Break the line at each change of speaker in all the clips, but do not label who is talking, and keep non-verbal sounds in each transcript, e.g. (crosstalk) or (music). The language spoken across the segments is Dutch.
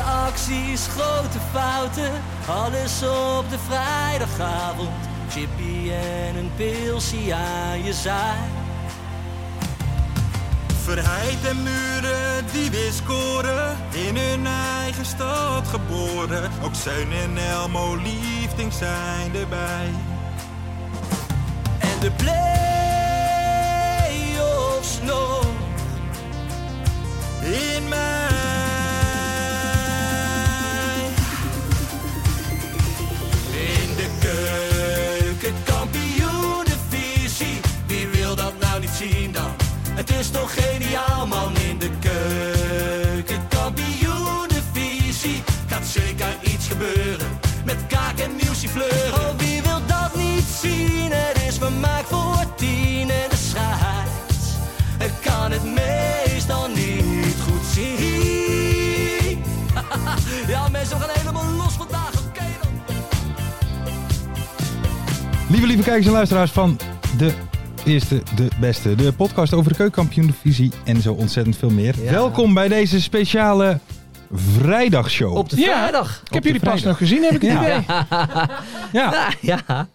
acties, grote fouten, alles op de vrijdagavond. Chippy en een pilsie aan je zaai.
Verheid en muren die weer scoren, in hun eigen stad geboren. Ook Zijn en Elmo liefding zijn erbij.
En de play-offs nog.
In mij.
In de keuken, kampioenenvisie. Wie wil dat nou niet zien dan? Het is toch geniaal man in de keuken, kampioenenvisie. Gaat zeker iets gebeuren met kaak en muziek fleuren. Oh, wie wil dat niet zien? Het is vermaakt voor tien en de scheids. Ik kan het meestal niet goed zien. (laughs) ja mensen, we gaan helemaal los vandaag, oké dan.
Lieve, lieve kijkers en luisteraars van de eerste, de beste. De podcast over de keukenkampioen-divisie en zo ontzettend veel meer.
Ja.
Welkom bij deze speciale vrijdagshow.
Op de
Ja.
vrijdag.
Ik heb
de
jullie pas
vrijdag.
nog gezien, heb ik het
Ja.
idee.
ja,
Ja, (laughs) ja.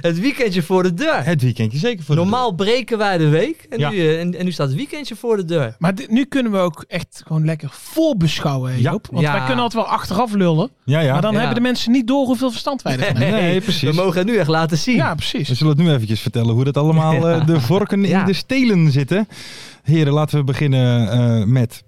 Het weekendje voor de deur.
het weekendje zeker voor de
Normaal breken wij de week. En,
Ja.
nu, eh, en, en nu staat het weekendje voor de deur.
Maar dit- nu kunnen we ook echt gewoon lekker voorbeschouwen, hè,
Ja.
Joop. Want
Ja.
wij kunnen altijd wel achteraf lullen.
deur. Ja, ja.
Maar dan
Ja.
hebben de mensen niet door hoeveel verstand wij ervan
(laughs)
hebben.
Nee, precies.
We mogen het nu echt laten zien.
Ja,
We
precies.
zullen het nu eventjes vertellen hoe dat allemaal
Ja.
eh, de vorken
Ja.
in de stelen zitten. Heren, laten we beginnen eh, met...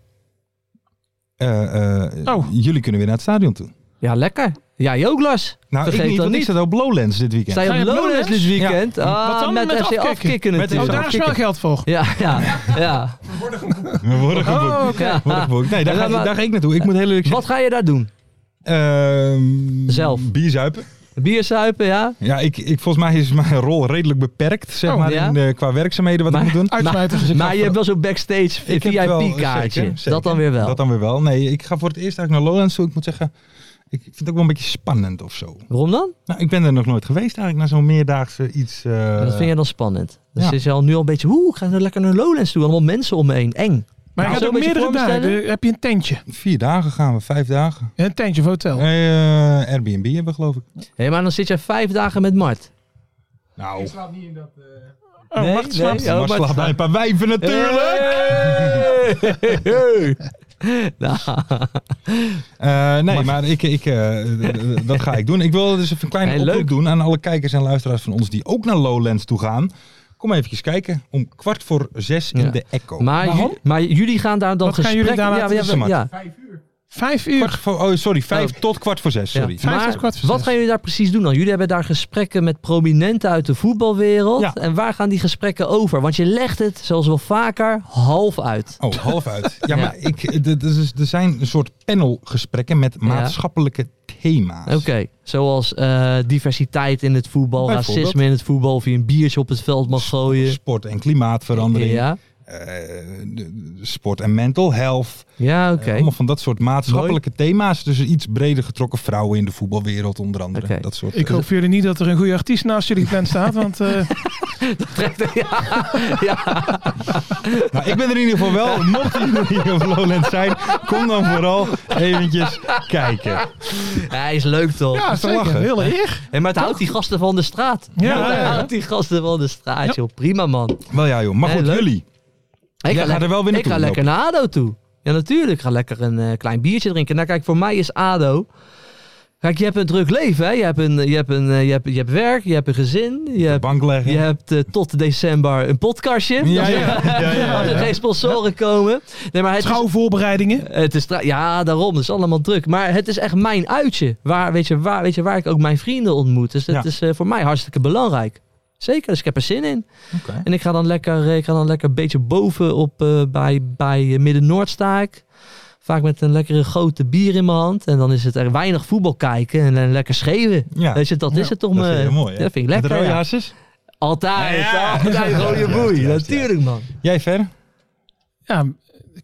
eh, eh,
Oh.
Jullie kunnen weer naar het stadion toe.
Ja, lekker. Ja, Joglas.
Nou,
Vergeet
ik niet,
dat
want ik
niet.
zat op Lowlands dit weekend.
Sta je
Ga
op
je op
Lowlands
Lowlands?
dit weekend?
Ja.
Ah,
Wat dan?
met,
Met
FC
afkicken.
afkicken
Met
natuurlijk.
Oh, daar is wel geld voor.
Ja, ja, ja.
We worden geboekt.
Oh,
(laughs)
oké.
Ja.
Worden geboekt. Nee, daar,
Ja,
ga, ik-
maar-
daar ga ik naartoe. Ik moet heel eerlijk
Wat ga je daar doen?
Ehm,
Zelf.
Bier zuipen.
Bier zuipen, ja?
Ja, ik, ik, volgens mij is mijn rol redelijk beperkt, zeg
Oh,
maar,
ja?
in, eh, qua werkzaamheden wat
Maar-
ik moet doen.
(laughs) Uitsmijter is
Maar je hebt wel zo'n backstage
Ik heb wel-
VIP-kaartje.
zeker, zeker.
Dat dan weer wel.
Dat dan weer wel. Nee, ik ga voor het eerst eigenlijk naar Lowlands toe. Ik moet zeggen, ik vind het ook wel een beetje spannend of zo.
Waarom dan?
Nou, ik ben er nog nooit geweest eigenlijk, naar zo'n meerdaagse iets. eh,
dat vind jij dan spannend. Dus
ja.
het is al nu al een beetje, oeh, ik ga nou lekker naar Lowlands toe. Allemaal mensen om me heen. Eng.
Maar je
Ja,
gaat
zo'n
ook
beetje
meerdere dagen.
voorstellen.
Dan heb je een tentje.
eh, Vier dagen gaan we, vijf dagen.
Een tentje of hotel.
Nee, eh, Airbnb hebben we geloof ik.
Hé, maar dan zit jij vijf dagen met Mart.
Nou,
Oh,
nee,
wacht, slaapt-
nee, ja.
maar
Bart
slaap bij een paar wijven natuurlijk.
(laughs) Nou,
Eh, nee, maar ik, ik, eh, d- d- dat ga ik doen. Ik wil dus even een kleine
Hey,
oproep
leuk.
doen aan alle kijkers en luisteraars van ons die ook naar Lowlands toe gaan. Kom eventjes kijken. Om kwart voor zes
Ja.
in de Echo.
Maar,
Waarom?
ju- maar jullie gaan daar dan
Wat gaan
gesprekken...
jullie daar laten
ja,
zien,
ja,
Mart?
ja,
Vijf uur.
Kwart voor, oh, sorry, vijf
Oh.
tot kwart voor zes.
ja.
Sorry.
Vijf
Maar
tot kwart voor
wat
zes.
gaan jullie daar precies doen dan? Jullie hebben daar gesprekken met prominenten uit de voetbalwereld.
Ja.
En waar gaan die gesprekken over? Want je legt het, zoals wel vaker, half uit.
Oh, half
(laughs)
uit. Ja,
Ja.
maar ik, d- d- dus er zijn een soort panelgesprekken met maatschappelijke thema's.
Oké, zoals eh, diversiteit in het voetbal,
Bijvoorbeeld.
racisme in het voetbal, of je een biertje op het veld mag gooien.
Sport en klimaatverandering.
Ja,
eh, de- de- sport en mental health.
ja oké.
Eh,
(laughs)
allemaal van dat soort maatschappelijke thema's. Dus iets breder getrokken vrouwen in de voetbalwereld onder andere.
Oké.
Dat soort, eh,
Ik hoop voor jullie niet dat er een goede artiest naast jullie gepland staat.
(laughs)
Want eh,
Nou, ik ben er in ieder geval
(laughs)
wel. Mocht jullie hier op Lowlands zijn, kom dan vooral eventjes kijken.
Hij is leuk toch?
ja,
is te
zeker.
lachen.
Heel eer.
Hé, maar het houdt die gasten van de straat.
Ja,
het
ja, ja.
houdt die gasten van de straat, joh. Prima, man. Ik
Ah, Wel ja joh, maar
Nee,
goed,
leuk.
jullie.
ga,
gaat
lekker-
er wel weer
Ik ga
naartoe,
lekker naar ADO toe. Ja, natuurlijk. Ik ga lekker een eh, klein biertje drinken. Nou, kijk, voor mij is ADO... Kijk, je hebt een druk leven, hè? Je hebt, een, je, hebt een, eh, je, hebt, je hebt werk, je hebt een gezin, je hebt,
Bank leggen.
je hebt eh, tot december een podcastje. (laughs)
Ja, ja, ja, ja, ja.
Als er geen sponsoren komen. Nee, maar het is-
Schouwvoorbereidingen.
Het is tra- ja, daarom. Het is allemaal druk. Maar het is echt mijn uitje. Waar, weet, je, waar, weet je, waar ik ook mijn vrienden ontmoet. Dus dat
Ja.
is eh, voor mij hartstikke belangrijk. Zeker, dus ik heb er zin in.
Oké.
En ik ga dan lekker, eh, ik ga dan lekker een beetje bovenop eh bij, bij eh, Midden-Noord sta ik. Vaak met een lekkere grote bier in mijn hand. En dan is het er weinig voetbal kijken en, eh, lekker schreeuwen.
Ja.
Weet je, dat
Ja,
is het om...
dat vind je
eh,
mooi, hè?
dat vind ik
Met
lekker.
rode
ja.
hasses?
Altijd,
Ja.
altijd rode
Juist,
boei.
juist,
Natuurlijk man.
Jij ver?
Ja,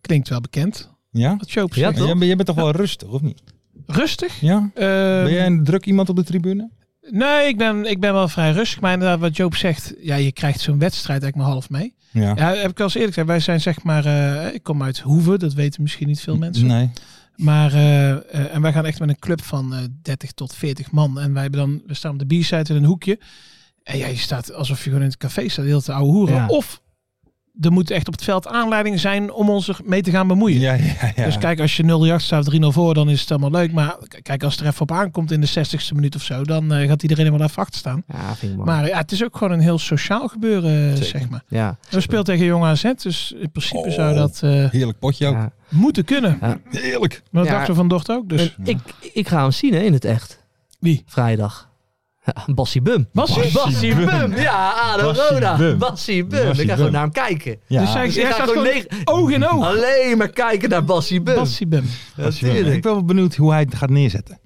klinkt wel bekend.
Ja?
Wat Joop
Ja,
zegt.
toch?
Jij, bent- jij bent toch wel rustig, of niet?
Rustig.
Ja?
Eh,
Ben jij
Ehm.
een druk iemand op de tribune?
Nee, ik ben, ik ben wel vrij rustig. Maar inderdaad, wat Joop zegt, ja, je krijgt zo'n wedstrijd eigenlijk maar half mee.
Ja.
Ja, heb ik al eens eerlijk gezegd. Wij zijn zeg maar, eh, ik kom uit Hoeven, dat weten misschien niet veel mensen.
Nee.
Maar, eh, eh, en wij gaan echt met een club van eh, 30 tot 40 man. En wij hebben dan, we staan op de B-side in een hoekje. En ja, je staat alsof je gewoon in het café staat, heel te ouwe hoeren.
Ja.
Of er moet echt op het veld aanleiding zijn om ons er mee te gaan bemoeien.
Ja, ja, ja.
Dus kijk, als je 0 jacht staat, 3-0 voor, dan is het allemaal leuk. Maar k- kijk, als het er even op aankomt in de 60ste minuut of zo, dan eh, gaat iedereen helemaal even achter staan.
Ja, vind ik mooi.
Maar ja, het is ook gewoon een heel sociaal gebeuren, eh,
Zeker.
zeg maar.
ja.
En We spelen tegen Jong AZ, dus in principe zou dat eh,
Heerlijk potje ook.
ja.
moeten kunnen.
Heerlijk.
Maar dat
Ja.
dachten we van Dort ook. Dus.
En ik, ik ga hem zien hè, in het echt.
Wie?
Vrijdag. Ja, Bassie Bum.
Bassie?
Bassie
Bum.
Bum. Ja, Ado
Bassie
Roda.
Bum.
Bassie Bum.
Bassie
ik
Bum. Oh.
ga gewoon naar hem kijken.
Ja.
Dus hij,
Dus
hij
ik ga
staat
gewoon
gewoon
negen-
oog in oog.
Alleen maar kijken naar Bassie Bum.
Bassie Bum.
natuurlijk.
Ik ben wel benieuwd hoe hij het gaat neerzetten.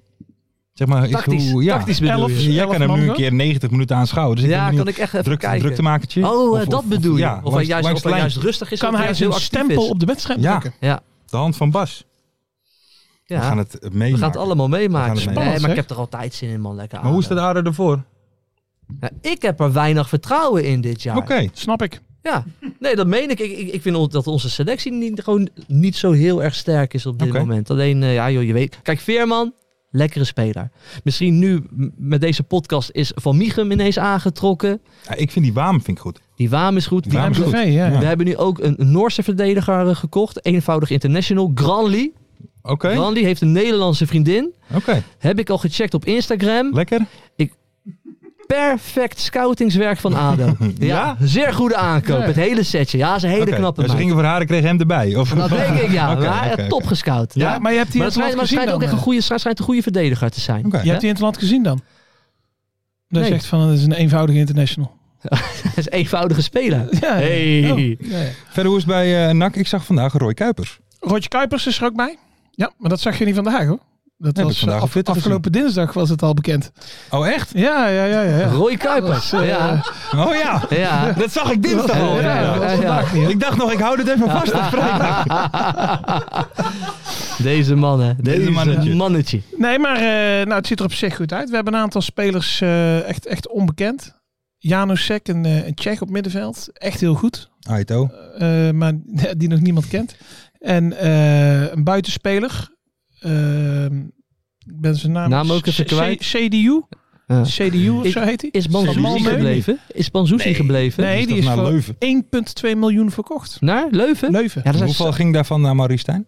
Zeg maar, is
Tactisch.
hoe, ja.
Tactisch bedoel
Elf.
je.
Ja,
Jij kan hem
man,
nu een
hoor.
keer 90 minuten aanschouwen. Dus ik ben
Ja,
benieuwd.
kan ik echt even
druk,
kijken.
drukte makertje.
Oh, eh,
Of-
dat
of-
bedoel je.
ja,
of hij
langs-
juist, eh,
langs
of
de
hij
lijn.
juist rustig is.
Dus Kan
of
hij
juist
zijn
heel actief
stempel
is.
op de wedstrijd
Ja.
drukken?
Ja,
De hand van Bas.
ja.
We gaan het eh, meemaken.
We gaan het allemaal meemaken.
We gaan het
nee,
meemaken.
maar ik heb er altijd zin in, man. Lekker
Maar hoe is
ADO.
dat Aarde ervoor?
Ja, ik heb er weinig vertrouwen in dit jaar.
Oké.
Snap ik.
Ja, nee, dat meen ik. Ik, ik, ik vind on- dat onze selectie niet, gewoon niet zo heel erg sterk is op dit
Oké.
moment. Alleen, eh, ja joh, je weet... Kijk, Veerman, lekkere speler. Misschien nu m- met deze podcast is Van Michum ineens aangetrokken.
Ja, ik vind die Waam vind ik goed.
Die Waam is goed.
Waam is
Die-
goed.
MVV, ja.
We hebben nu ook een Noorse verdediger eh, gekocht. Eenvoudig international. Granli.
Oké.
Granli heeft een Nederlandse vriendin.
Oké.
Heb ik al gecheckt op Instagram.
Lekker.
Perfect scoutingswerk van
(laughs)
ADO. ja, zeer goede aankoop.
Ja.
Het hele setje. Ja, ze hele
Oké.
knappe
Dus ze
meid. Nou,
gingen voor haar en kreeg hem erbij. Of...
Dat denk ik, ja.
Oké,
maar hij
oké,
heeft top
oké.
gescout.
Ja, maar je hebt die
maar het
interland
schijnt, maar het
gezien
schijnt ook
dan,
echt een
eh.
goede, schijnt schijnt een goede verdediger te
(laughs)
zijn.
Oké.
Je hebt die interland gezien dan? Dat
Nee.
zegt van, het is een eenvoudige international.
Hij is (laughs) een eenvoudige speler.
Ja.
Hey.
Oh, ja, ja.
Verder hoe is het bij eh, NAC? Ik zag vandaag Roy Kuipers.
Roger Kuipers is er ook bij. Ja, maar dat zag je niet vandaag hoor. Dat
ik
was
vandaag
eh,
op
af-
Twitter
afgelopen dinsdag was het al bekend.
Oh echt?
Ja, ja, ja, ja. ja. eh,
Roy Kuipers. Ja, ja.
Oh ja.
(laughs)
ja.
Dat zag ik dinsdag al.
Ja, ja, ja.
Ik dacht nog, ik hou dit even vast op vrijdag.
Deze mannen.
Deze
Deze
mannetje.
mannetje.
Nee, maar eh, nou, het ziet er op zich goed uit. We hebben een aantal spelers eh, echt, echt onbekend. Janusek, een, eh, een Tsjech op middenveld. Echt heel goed.
Aito.
Eh, maar (laughs) die nog niemand kent. En eh, een buitenspeler. Eh, ik ben zijn naam...
Naam ook even
C-
kwijt.
C- CDU.
Ja.
CDU of
Ik-
zo heet hij.
Is
Malmö?
Banzuzi gebleven? Is Banzuzi gebleven?
Nee, die
toch
is
naar
voor
Leuven?
1,2 miljoen verkocht.
Naar Leuven?
Leuven.
Ja, dat zijn-
Dus Hoeveel ging daarvan naar Maurice Stijn?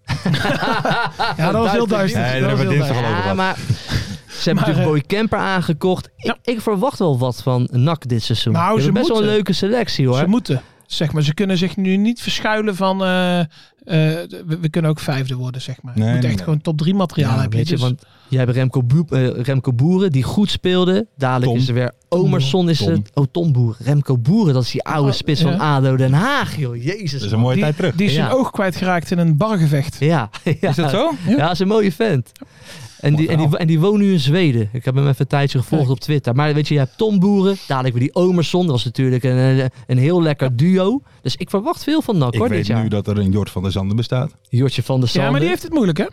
Ja, dat was heel duister.
Nee, daar
Dat was
hebben we
heel
dinsdag al over gehad.
Ja,
(laughs)
maar ze hebben
Maar,
natuurlijk
eh,
Boy Kemper aangekocht. Ik,
ja.
ik verwacht wel wat van NAC dit seizoen.
Nou,
Ze
ze
hebben best wel een
moeten.
leuke selectie hoor.
Ze moeten. Zeg maar, ze kunnen zich nu niet verschuilen van. eh, eh, we, we kunnen ook vijfde worden, zeg maar.
Nee,
je moet
nee,
echt
nee.
gewoon top 3 materiaal
Ja,
hebben.
Nou, weet je,
Dus-
want jij hebt Remco, Boe- eh, Remco Boeren die goed speelde. Dadelijk
Tom.
is er weer Omerson. Is
Tom.
het, oh, Tom Boer. Remco Boeren, dat is die oude
Oh,
spits
ja.
van ADO Den Haag, joh. Jezus.
Dat is een mooie
die,
tijd terug.
die is zijn
Ja.
oog kwijtgeraakt in een bargevecht.
Ja, (laughs) ja.
Is dat zo?
Ja, dat is een mooie vent. En die, en, die, en die woont nu in Zweden. Ik heb hem even een tijdje gevolgd op Twitter. Maar weet je, je hebt Tom Boeren, dadelijk weer die Omerson. Dat was natuurlijk een, eh, een heel lekker duo. Dus ik verwacht veel van NAC
Ik
hoor dit
weet
jaar.
nu dat er een Jort van der Zanden bestaat.
Jortje van der Sande.
Ja, maar die heeft het moeilijk, hè?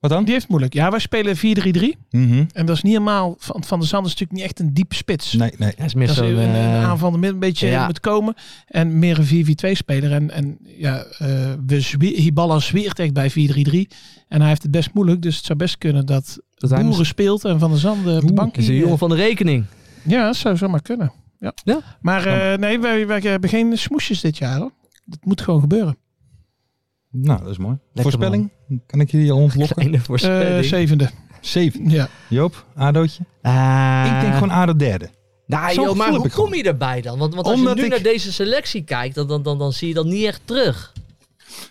Wat dan?
Die heeft het moeilijk. Ja, wij spelen 4-3-3.
Mm-hmm.
En dat is niet helemaal. Van, van de Zand is natuurlijk niet echt een diepe spits.
Nee, nee.
Hij is meer
Dat is
zo'n...
een, een
eh,
aanval een beetje
ja.
moet komen. En meer een 4-4-2 speler. En, en ja, eh, we zwie- Hiballa zweert echt bij 4-3-3. En hij heeft het best moeilijk. Dus het zou best kunnen dat,
dat hij
Boeren
misschien-
speelt en Van der Zanden op de bank.
is een jongen van de rekening.
Ja, dat zou zomaar kunnen. Ja.
Ja.
Maar eh, nee, wij, wij hebben geen smoesjes dit jaar. Hoor. Dat moet gewoon gebeuren.
Nou, dat is mooi. Voorspelling? Kan ik jullie al ontlokken?
Kleine
Eh,
voorspelling.
zevende.
Zeven.
Ja.
Joop, Adootje?
Eh,
ik denk gewoon Ado derde.
Nou,
Zo'n
joh, maar
gevoel
hoe
heb ik
kom je erbij dan? Want, want als
Omdat
je nu
ik-
naar deze selectie kijkt, dan, dan, dan, dan zie je dat niet echt terug.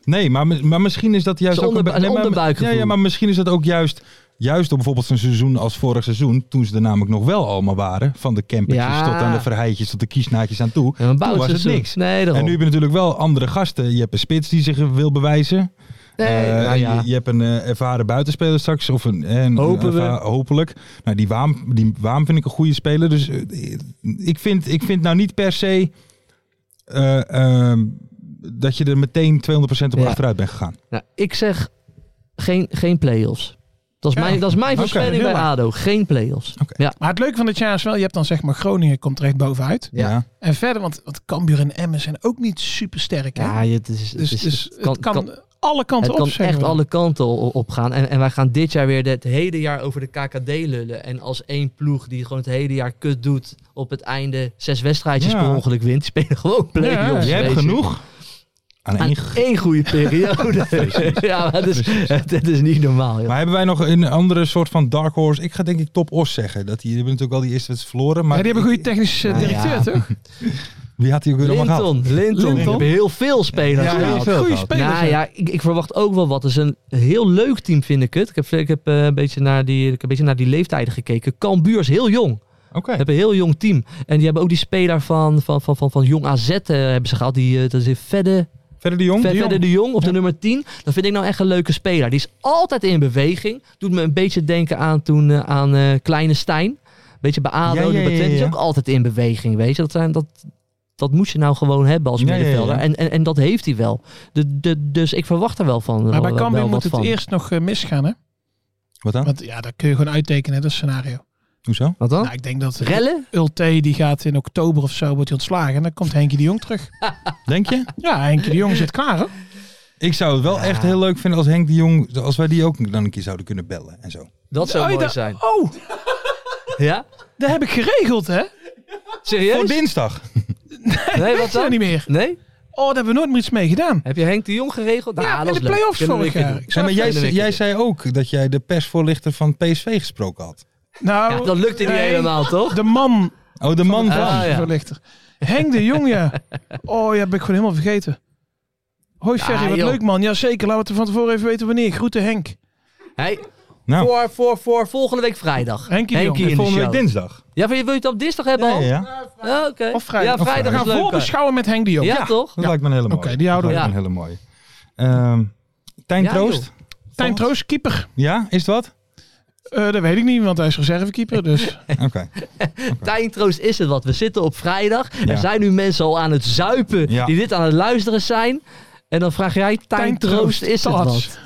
Nee, maar, mi- maar misschien is dat juist
Zo'n
ook...
onderbu-
be- nee,
een
maar-
onderbuikgevoel.
Ja, ja, maar misschien is dat ook juist... Juist door bijvoorbeeld zo'n seizoen als vorig seizoen, toen ze er namelijk nog wel allemaal waren. Van de campertjes
Ja.
tot aan de verheidjes, tot de kiesnaadjes aan toe.
Ja, een
toen was het
bouwseizoen.
niks.
Nee, daarom.
En nu heb je natuurlijk wel andere gasten. Je hebt een spits die zich wil bewijzen.
nee,
Eh,
nou ja.
je, je hebt een eh, ervaren buitenspeler straks. Of een, eh, een-
Hopen
een
we.
erva- hopelijk. Nou, die Waam, die Waam vind ik een goede speler. Dus eh, ik, vind, ik vind nou niet per se eh, ehm, dat je er meteen 200% op
Ja.
achteruit bent gegaan.
Nou, ik zeg geen, geen play-offs. Dat is
Ja.
mijn, dat is mijn
Oké,
voorspelling
heel
bij
laag.
ADO. Geen play-offs.
Maar het leuke van dit jaar is wel, je hebt dan zeg maar Groningen komt er echt bovenuit.
Ja.
En verder, want, want Cambuur en Emmen zijn ook niet super sterk. Hè?
Ja, het is,
dus
het is-
dus het kan, alle kanten
het
op,
kan
zeggen
echt
we.
alle kanten o- op gaan. En, en wij gaan dit jaar weer het hele jaar over de KKD lullen. En als één ploeg die gewoon het hele jaar kut doet, op het einde zes wedstrijdjes
Ja.
per ongeluk wint, (laughs) die spelen gewoon play-offs.
Je hebt
weet je.
genoeg aan één
Aan
ge-
één goede periode. (laughs) ja, maar het is, het, het is niet normaal. joh.
Maar hebben wij nog een andere soort van dark horse? Ik ga denk ik Top Os zeggen. Dat die, die hebben natuurlijk wel die eerste wedstrijd verloren. Maar
Ja, die hebben een goede technische eh,
Nou Ja,
directeur,
ja.
toch?
wie had die ook weer allemaal gehad?
Linton, Linton.
Linton.
We hebben heel veel spelers
Ja,
gehaald.
heel veel
goede
gehad.
spelers.
nou
hè.
ja, ik, ik verwacht ook wel wat. Het is een heel leuk team, vind ik het. Ik heb, ik heb, eh, een, beetje naar die, ik heb een beetje naar die leeftijden gekeken. Cambuur is heel jong.
Oké.
Ze hebben een heel jong team. En die hebben ook die speler van, van, van, van, van Jong AZ eh, hebben ze gehad. Die, eh, dat is Vedde,
Verder de Jong?
Ve-
De Jong.
Vedde de Jong op de nummer 10. Dat vind ik nou echt een leuke speler. Die is altijd in beweging. Doet me een beetje denken aan toen eh, aan eh, Kleine Stijn. Beetje bij
Ja,
ADO.
ja,
en bij Twente.
ja,
Die is
ja.
ook altijd in beweging. Weet je? Dat, zijn, dat, dat moet je nou gewoon hebben als
Ja, ja, ja.
middenvelder. En, en, en dat heeft hij wel. De, de, dus ik verwacht er wel van.
Maar bij
wel- eh, wel
Cambuur
wat
moet het
van.
eerst nog eh, misgaan, hè?
Wat dan?
Want ja, dat kun je gewoon uittekenen, dat scenario.
Hoezo?
Wat dan?
Nou, ik denk dat eh,
Oh. Rellen?
Ulte, die gaat in oktober of zo, wordt hij ontslagen. En dan komt Henkie de Jong terug.
(laughs) Denk je?
Ja, Henkie de Jong zit klaar, hoor.
Ik zou het wel echt heel leuk vinden als Henk de Jong, als wij die ook dan een keer zouden kunnen bellen en zo.
Dat zou
Oh,
mooi
daar-
zijn.
Oh,
Ja?
dat heb ik geregeld, hè?
Voor
Serieus?
Oh, dinsdag.
Nee,
Dat
wat
is nou
dan?
niet meer.
Nee?
Oh, daar hebben we nooit meer iets mee gedaan.
Heb je Henk de Jong geregeld? Nou,
Ja,
dat
in
is
de
leuk.
play-offs
Kunnen we
vorig
een keer
jaar.
doen.
Ik
Zeg maar, jij,
Kunnen we een keer
jij
doen.
zei ook dat jij de persvoorlichter van PSV gesproken had.
Nou,
Ja, dat lukte niet
nee,
helemaal, toch?
De man
Oh, de man van.
Ah, ja.
verlichter. Henk de Jong, ja. Oh, ja, ben ik gewoon helemaal vergeten. Hoi
Ja,
Ferry, wat
joh.
leuk man. Jazeker, laten we het van tevoren even weten wanneer. Groeten Henk.
Hey,
Nou.
voor, voor, voor volgende week vrijdag.
Henkie de
Henkie
Jong.
in de
Volgende
show.
week dinsdag.
Ja, wil je, wil je het op dinsdag hebben
Ja,
al?
ja, ja.
Ja, oké.
Of vrijdag.
Eh, Ja, vrijdag
We gaan
is leuk. hè?
voorbeschouwen met Henk de Jong.
Ja, toch?
Dat lijkt me een hele mooie.
Oké, die houden
Dat
we.
lijkt me een hele mooie. Ehm, Tijn
Ja,
Troost?
Tijn Troost, keeper.
Ja, is dat?
(laughs)
wat?
Eh, dat weet ik niet, want hij is reservekeeper. Dus.
Oké.
Tijn Troost is het wat. We zitten op vrijdag.
Ja.
Er zijn nu mensen al aan het zuipen
Ja.
die dit aan het luisteren zijn. En dan vraag jij, Tijn Troost is het
Troost.
wat?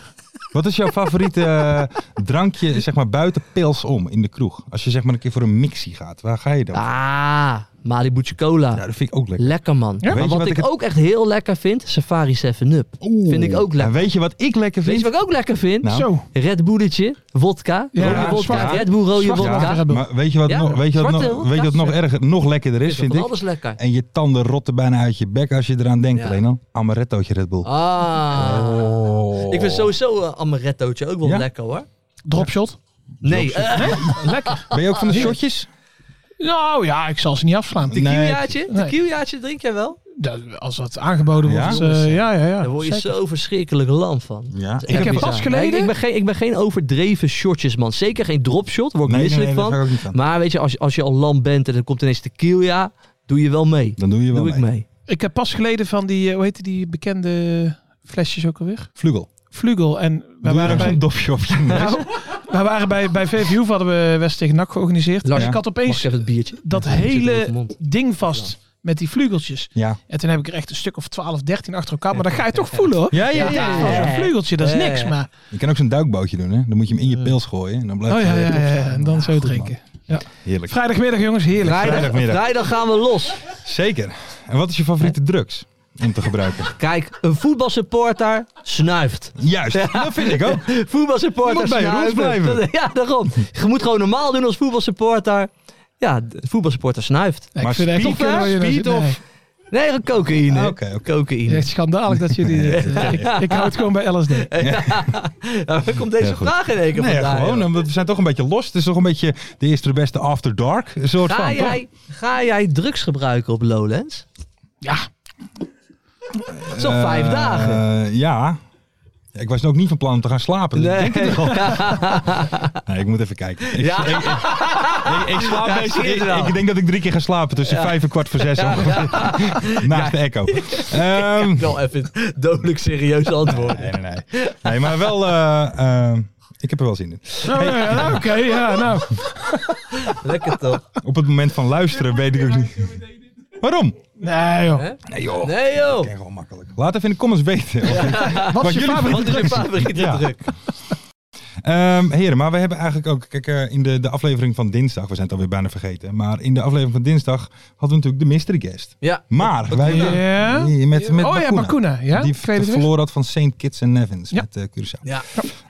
Wat is jouw favoriete eh, drankje, zeg maar, buiten pils om in de kroeg? Als je zeg maar een keer voor een mixie gaat, waar ga je dan?
Ah, Malibu'tje Cola.
Ja, dat vind ik ook lekker.
Lekker man.
Weet
Maar
je
wat,
wat
ik
ik het-
ook echt heel lekker vind, Safari 7-Up. Vind ik ook
En
lekker.
weet je wat ik lekker
Weet
vind?
je wat ik ook lekker vind?
Nou.
Zo,
Red Bulletje, wodka,
Ja,
rode wodka,
zwarte-
Red Bull rode
zwarte
wodka.
wodka. Red Bull.
Maar weet je wat,
Ja,
nog, weet je wat,
zwarte
nog,
wodka.
weet je wat nog erger, nog lekkerder is, vind
Van
ik?
alles lekker.
En je tanden rotten bijna uit je bek als je eraan denkt.
Ja.
Alleen al, amarettootje Red Bull.
Ah.
Oh.
Ik vind sowieso eh, amarettootje ook wel
Ja?
lekker hoor. (laughs)
dropshot.
Nee, eh
Lekker.
Ben je ook van
Ah,
de shotjes?
Nou ja, ik zal ze niet afslaan.
tequilaatje?
Nee.
Tequilaatje drink jij wel?
Dat- als dat aangeboden
Ja?
wordt, eh, ja, ja, ja.
Daar word je
zeker.
zo verschrikkelijk lam van.
Ja.
Dat is
Ik
echt
heb
bizar.
pas geleden-
Nee, ik, ben geen, ik ben geen overdreven shotjes, man. Zeker geen dropshot, daar word ik misselijk
daar ga
van.
ik ook niet van.
Maar weet je, als, als je al lam bent en er komt ineens tequila, doe je wel mee.
Dan doe je wel
Doe ik
mee.
mee.
Ik heb pas geleden van die, eh, hoe heette die bekende flesjes ook alweer?
Vlugel.
Vlugel. En we
Doe je
waren
dan
bij
(laughs) zo'n dopje op je neus?
Nou, we waren bij, bij VVU hadden we eh, West tegen NAC georganiseerd.
Lars,
en ik had
Mag ik
opeens
even het biertje?
dat
zit in
hele
mijn mond.
ding vast met die vlugeltjes.
Ja.
En toen heb ik er echt een stuk of 12, 13 achter elkaar. Maar dat ga je toch voelen hoor.
Ja, ja,
Dat
ja.
is wel Een vlugeltje, dat is
Ja,
niks.
ja.
Maar,
Je kan ook zo'n duikbootje doen, hè? Dan moet je hem in je pils gooien en dan
oh
blijft
ja, ja,
hij
ja, ja, En dan zo
goed,
drinken. Ja.
heerlijk.
Vrijdagmiddag jongens, heerlijk.
Vrijdagmiddag.
Vrijdag gaan we los.
Zeker. En wat is je favoriete drugs om te
(laughs)
gebruiken?
Kijk, een voetbalsupporter snuift.
Juist, dat vind ik ook. Je
(laughs) Voetbalsupporter
moet bij je
snuiven.
roots blijven.
Dat- (laughs) Ja, daarom. Je moet gewoon normaal doen als voetbalsupporter. Ja, de voetbalsupporter snuift.
Nee, ik
Maar
vind het echt
speed
niet kunnen
off,
waar je nou
speed
zit. Nee.
off.
Nee, gewoon cocaïne.
Ah, oké, oké.
Cocaïne.
Echt schandalig dat jullie... ik, ik hou het gewoon bij LSD.
Ja, waar Nou, komt deze
Ja, goed.
vraag in één keer
Nee,
vandaan?
gewoon.
joh?
want We zijn toch een beetje los. Het is toch een beetje de eerste de beste After Dark. Een soort
Ga
van, toch?
jij, ga jij drugs gebruiken op Lowlands?
Ja,
Zo'n vijf
Eh,
dagen.
ja. Ja, Ik was ook niet van plan om te gaan slapen. dus
Nee.
Ik, denk het
(laughs)
wel. (laughs) nee, ik moet even kijken. Ik,
Ja.
ik, ik- ik slaap
Ja, ik
best-
zie het
ik,
wel.
ik denk dat ik drie keer ga slapen tussen vijf en kwart voor zes. ongeveer. Naast de
(laughs)
echo. Ehm,
Wel even het dodelijk serieus antwoord.
nee, nee, nee. Nee, maar wel... eh, eh, ik heb er wel zin in.
Oh, ja, nou, oké, ja, nou.
Lekker toch?
Op het moment van luisteren weet ik ook niet... Waarom?
Nee, joh.
Nee joh.
Nee joh.
Ken gewoon makkelijk. Laat even in de comments weten. of-
Wat is je
jullie-
favoriete
Wat is je
drugs?
favoriete
Ja.
druk?
Ehm, heren, maar we hebben eigenlijk ook, kijk, eh, in de, de aflevering van dinsdag, we zijn het alweer bijna vergeten, maar in de aflevering van dinsdag hadden we natuurlijk de mystery guest.
Ja.
Maar wij,
Ja.
Nee, met, met
Oh ja,
Bakuna.
Bakuna. Ja,
die
tweede druk.
verloor had van St. Kitts en Nevins
Ja.
met eh Curaçao.
Ja.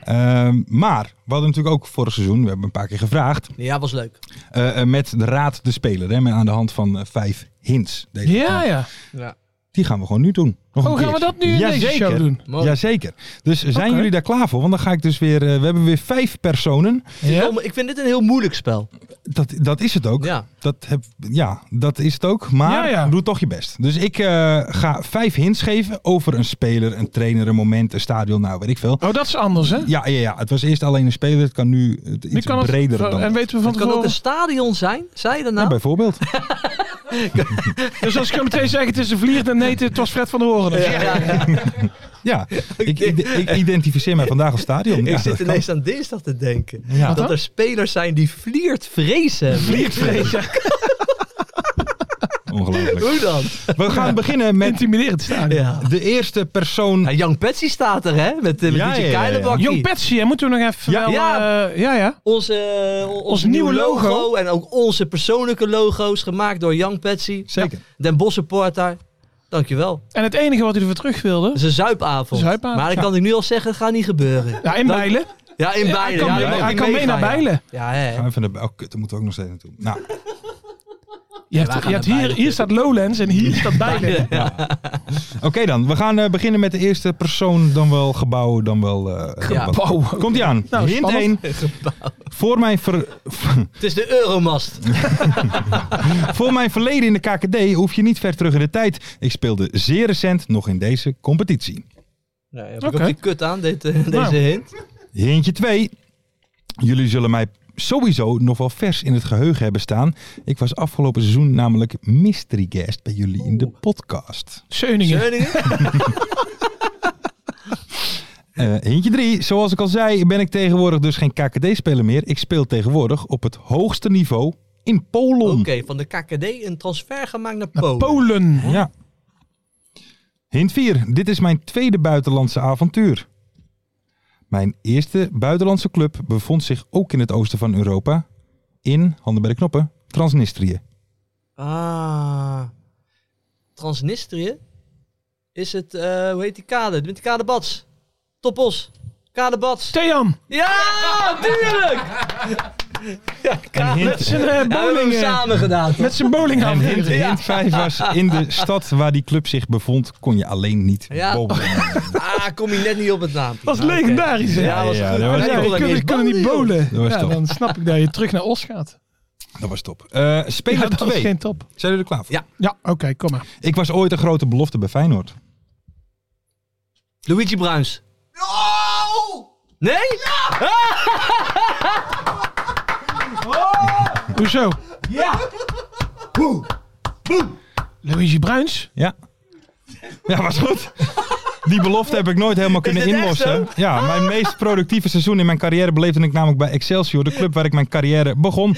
Ehm, maar we hadden natuurlijk ook vorig seizoen, we hebben een paar keer gevraagd,
Ja, was leuk.
eh, eh, met de raad de speler, hè, met aan de hand van eh, vijf hints. Deze
Ja, ja.
Die gaan we gewoon nu doen. Nog
Oh,
een
gaan
keer.
we dat nu in deze
Jazeker.
show doen?
Mooi.
Jazeker. Dus zijn
Oké.
jullie daar klaar voor? Want dan ga ik dus weer. eh, we hebben weer vijf personen.
Ja?
Oh, maar Ik vind dit een heel moeilijk spel.
Dat, dat is het ook.
Ja.
Dat, heb, ja, dat is het ook. Maar
Ja, ja.
doe toch je best. Dus ik eh, ga vijf hints geven over een speler, een trainer, een moment, een stadion, nou weet ik veel.
Oh, dat is anders, hè?
Ja, ja, ja. Het was eerst alleen een speler. Het kan nu eh,
Nu
iets
kan het-
breder dan.
En weten we
Het
van
kan ook
tevoren...
een stadion zijn. Zei je dat
Ja,
nou?
bijvoorbeeld.
(laughs) Dus als ik hem meteen zeg, het is een vlier, dan nee, het was Fred van der Horen. of zo.
(laughs)
Ja, ik, ik, ik identificeer mij vandaag als stadion.
Ik
Ja, dat
zit
kan.
ineens aan dinsdag te denken.
Ja.
Dat er spelers zijn die vliert vrezen. Vliert vrezen.
Ongelooflijk.
Hoe dan? (laughs)
We gaan beginnen met
Intimiderend staan.
Ja.
de eerste persoon.
Nou, Young Patsy staat er, hè? Met, eh, met
Ja,
DJ
ja, ja, ja.
Keilenbakkie.
Jong Patsy, hè, moeten we nog even...
Ja.
wel,
Ja.
eh, ja, ja.
Onze, eh, on- ons nieuwe,
nieuwe
logo.
logo.
en ook onze persoonlijke logo's gemaakt door Young Patsy.
Zeker.
Den Bosch supporter. Dankjewel.
En het enige wat hij ervoor terug wilde...
Dat is een zuipavond.
Zuipavond,
maar dat
ja.
kan ik nu al zeggen, dat gaat niet gebeuren.
Ja, in
Dank-
Bijlen.
Ja, in Bijlen.
kan-
Ja, dan
hij
mag
kan mee
meegaan,
naar
ja.
Bijlen.
Ja, hè.
Gaan we even naar bij- Oh, kut, daar moeten we ook nog steeds naartoe. Nou,
Je hebt,
wij gaan
je hebt
naar
hier,
Bijlen.
hier staat Lowlands en hier staat Bijlen.
Oké dan, we gaan eh, beginnen met de eerste persoon, dan wel gebouw, dan wel... eh
Ja.
wat- Komt ie aan.
Nou,
Hint
spannend.
1. Voor mijn, ver- (laughs)
Het is de (laughs) Euromast.
voor mijn verleden in de KKD hoef je niet ver terug in de tijd. Ik speelde zeer recent nog in deze competitie.
Nou, heb ik
Oké.
ook die kut aan, dit, eh,
Nou.
deze hint.
Hintje 2. Jullie zullen mij sowieso nog wel vers in het geheugen hebben staan. Ik was afgelopen seizoen namelijk mystery guest bij jullie in de podcast.
Scheuningen.
Zeuningen?
Eh hintje 3. Zoals ik al zei, ben ik tegenwoordig dus geen KKD-speler meer. Ik speel tegenwoordig op het hoogste niveau in Polen.
Oké, van de KKD een transfer gemaakt naar
Naar
Polen.
Polen.
Ja. Hint 4. Dit is mijn tweede buitenlandse avontuur. Mijn eerste buitenlandse club bevond zich ook in het oosten van Europa. In, handen bij de knoppen, Transnistrië.
Ah. Transnistrië is het, eh, hoe heet die kade? Met die kade Bats. Toppos. Kade Bats.
Thean.
Ja, tuurlijk! Ja,
En
kade.
hint-
Met zijn eh,
Ja, we hebben hem
bowling. eh,
samen gedaan.
met zijn bowling
En hint, hint 5 was, in
(laughs)
de stad waar die club zich bevond, kon je alleen niet
Ja.
bowlen.
Ah, kom je net niet op het naam.
Dat is
Ah, oké.
legendarisch, hè?
Ja, was
Ja,
goed.
dat was
Ja,
Ja,
die kon
ik
ik
kan,
eens
ik kan
banden,
niet
joh.
bowlen.
Dat was
Ja,
top.
dan snap ik dat je terug naar Os gaat.
Dat was top. Eh,
Ja,
speler
dat was
2.
geen top.
Zijn jullie er klaar voor?
Ja.
Ja, oké, kom
(laughs)
maar.
Ik was ooit een grote belofte bij Feyenoord.
Luigi Bruins. Nee? (laughs)
Hoezo? Ja! Luigi Bruins?
Ja. Ja, was goed. Die belofte heb ik nooit helemaal kunnen
dit echt Ah.
inlossen. Ja, mijn meest productieve seizoen in mijn carrière beleefde ik namelijk bij Excelsior, de club waar ik mijn carrière begon.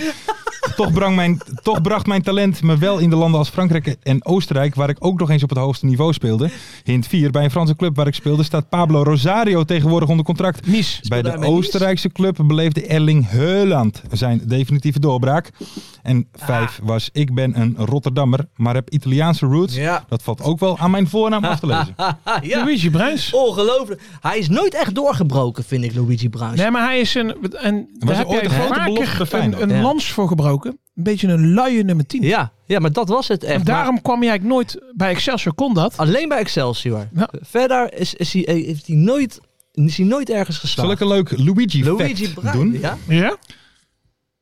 Toch, brang mijn, toch bracht mijn talent me wel in de landen als Frankrijk en Oostenrijk, waar ik ook nog eens op het hoogste niveau speelde. Hint 4, bij een Franse club waar ik speelde staat Pablo Rosario tegenwoordig onder contract.
Nies.
Bij
hij
de
bij Nice?
Oostenrijkse club beleefde Erling Haaland zijn definitieve doorbraak. En 5
Ah.
was, ik ben een Rotterdammer, maar heb Italiaanse roots.
Ja.
Dat valt ook wel aan mijn voornaam af te lezen.
Ah, ja.
Luigi Bruins?
Oh.
Ongelooflijk. Hij is nooit echt doorgebroken, vind ik, Luigi Bruins.
Nee, maar hij is een... En daar
was
heb
ooit
jij
een grote belofte bij
vaker een,
Feyenoord.
een
Ja.
lans voor gebroken. gesproken, een beetje een luie nummer 10.
Ja, ja, maar dat was het echt.
en
Maar
daarom kwam je eigenlijk nooit bij Excelsior, kon
Ah.
dat.
alleen bij Excelsior.
Ja.
Verder is, is hij, heeft hij nooit, is hij nooit ergens
Zal ik
geslaagd.
een leuk Luigi,
Luigi
fact
Braille,
doen?
Ja?
Ja?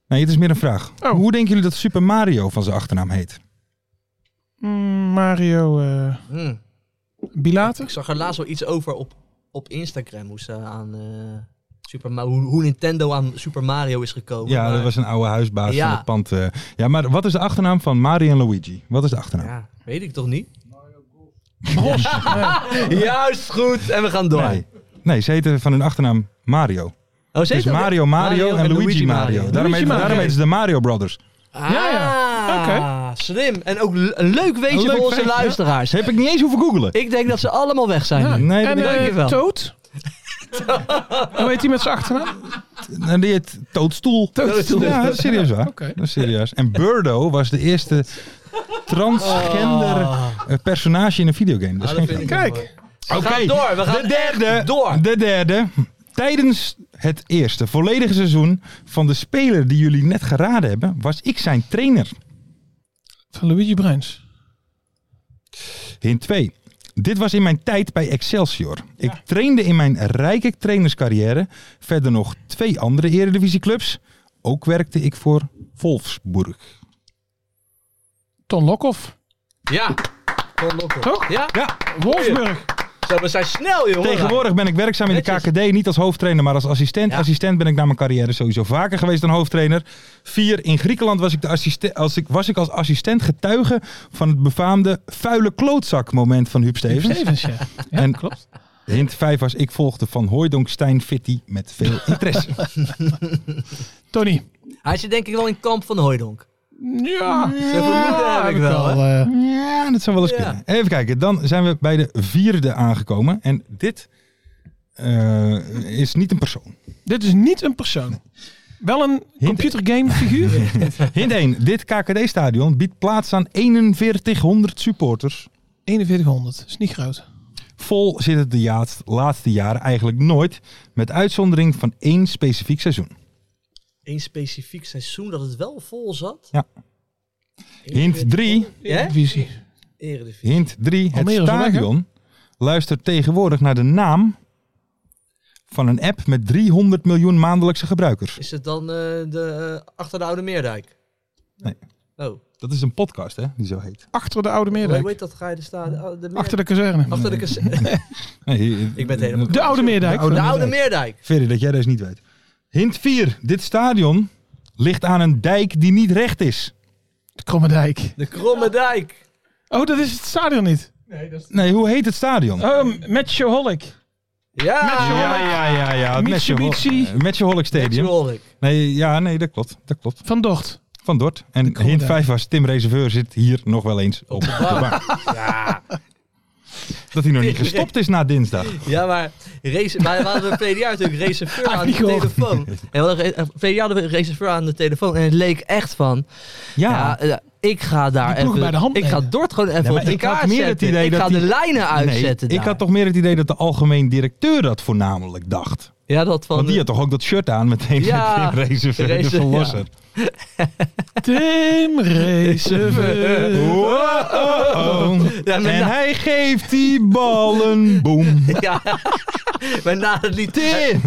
Nee, het is meer een vraag.
Oh.
Hoe denken jullie dat Super Mario van zijn achternaam heet?
Mm, Mario eh
Hm.
Bilater.
Ik zag er laatst wel iets over op, op Instagram. Hoe, ze aan, eh, Super Ma- hoe, hoe Nintendo aan Super Mario is gekomen.
Ja,
Maar-
dat was een oude huisbaas
Ja.
van het pand. eh. ja, maar wat is de achternaam van Mario en Luigi? Wat is de achternaam?
Ja, weet ik toch niet? Bos. (laughs) Juist goed. En we gaan door.
Nee. nee, ze heten van hun achternaam Mario.
Oh, ze
Dus
heet ook-
Mario Mario, en, Luigi, Mario. Daarom,
Luigi
heet-
Mario.
daarom heten ze de Mario Brothers.
ja, ja.
Oké.
Slim. En ook le- een leuk weetje
Een leuk
voor onze
weetje, ja.
luisteraars.
Heb ik niet eens hoeven googelen.
Ik denk dat ze allemaal weg zijn nu.
Nee,
en
dat-
eh,
dankjewel.
(laughs) Toad. Hoe heet die met zijn achternaam?
En die heet Toadstoel.
Toadstoel.
Ja, dat is serieus waar.
Oké.
Dat is serieus. En Birdo was de eerste transgender eh, personage in een videogame. Dat is
Oh. Ah,
geen
dat vind
grap.
ik ook
Kijk.
We
Oké,
gaan door. We gaan
de
echt
derde.
door.
De derde. Tijdens het eerste volledige seizoen van de speler die jullie net geraden hebben, was ik zijn trainer.
Van Luigi Bruins.
Hint 2. Dit was in mijn tijd bij Excelsior. Ik trainde in mijn rijke trainerscarrière verder nog twee andere eredivisieclubs. Ook werkte ik voor Wolfsburg.
Ton Lokhoff.
Ja. Tom Lokhoff.
Toch?
Ja.
Ja,
Wolfsburg.
Zo, we zijn snel, joh.
tegenwoordig ben ik werkzaam in de
Netjes.
KKD. Niet als hoofdtrainer, maar als assistent.
Ja.
Assistent ben ik na mijn carrière sowieso vaker geweest dan hoofdtrainer. Vier, in Griekenland was ik, de assiste- als, ik, was ik als assistent getuige van het befaamde vuile klootzak moment van Huub Stevens.
Stevens, ja. Ja,
En-
klopt.
Hint 5 was ik volgde Van Hooijdonk, Stijn, Fitty met veel interesse.
(laughs) Tony.
Hij zit denk ik wel in kamp van Hooidonk.
Ja.
vermoeden heb ik wel,
eh,
Ja, dat zou wel eens
Ja.
kunnen. Even kijken, dan zijn we bij de vierde aangekomen. En dit eh, is niet een persoon.
dit is niet een persoon. Wel een computergame (laughs) figuur.
Hint 1. Dit KKD-stadion biedt plaats aan 4100 supporters.
4100. Is niet groot.
Vol zit het de jaats- laatste jaren eigenlijk nooit. Met uitzondering van één specifiek seizoen.
Eén specifiek seizoen dat het wel vol zat.
Ja.
Eén
Hint
keer-
3.
Ja?
Visie.
Eredivisie.
Hint 3. Het
Almere is wel weg, hè?
stadion luistert tegenwoordig naar de naam van een app met 300 miljoen maandelijkse gebruikers.
Is het dan eh, de, eh, achter de Oude Meerdijk?
Nee.
Oh,
Dat is een podcast, hè, die zo heet.
Achter de Oude Meerdijk.
hoe heet dat? Ga je de stad? oh, de Meer-
Achter de kazerne.
achter de kas-
Nee, hier-
Ik ben het helemaal-
De Oude Meerdijk.
De Oude
De Oude (laughs) Meerdijk.
Ferry, dat jij deze niet weet. Hint 4. Dit stadion ligt aan een dijk die niet recht is.
De Kromme Dijk.
De Kromme Dijk.
Oh, dat is het stadion niet.
Nee, hoe heet het stadion?
Um, Matchaholic. Ah,
Ja.
ja, ja, ja, ja. het
Mitsubishi.
Matchahol- eh, Matchaholic Stadium.
Matchaholic.
Nee, ja, nee, dat klopt. Dat klopt.
Van (laughs) Dort.
Van Dort. En
Kromme
hint
Dijk.
5 was Tim Reserveur zit hier nog wel eens op de bank. Dat hij nog niet gestopt is na dinsdag.
Ja, maar race, maar we hadden verleden jaar natuurlijk reserveur
Ah,
aan de
niet
(laughs)
gehoord.
telefoon. En we hadden, re- eh, verleden jaar hadden we reserveur aan de telefoon. En het leek echt van, ja,
Ja.
eh, ik ga daar
Die ploeg
even,
bij de hand
ik ga
nemen.
Dort gewoon even
Ja, maar
op de
ik had
kaart
meer het
zetten.
idee
ik
dat
ga
die-
de lijnen
Nee,
uitzetten
ik
daar.
had toch meer het idee dat de algemeen directeur dat voornamelijk dacht.
ja, dat van,
Want die had toch ook dat shirt aan meteen
Ja,
met Tim Reserveur, de
Reserveur,
verlosser.
Tim Reserveur.
Wow.
Ja,
en
maar nou-
hij geeft die ballen.
(laughs)
Boom.
Ja, maar na het lied...
Tim.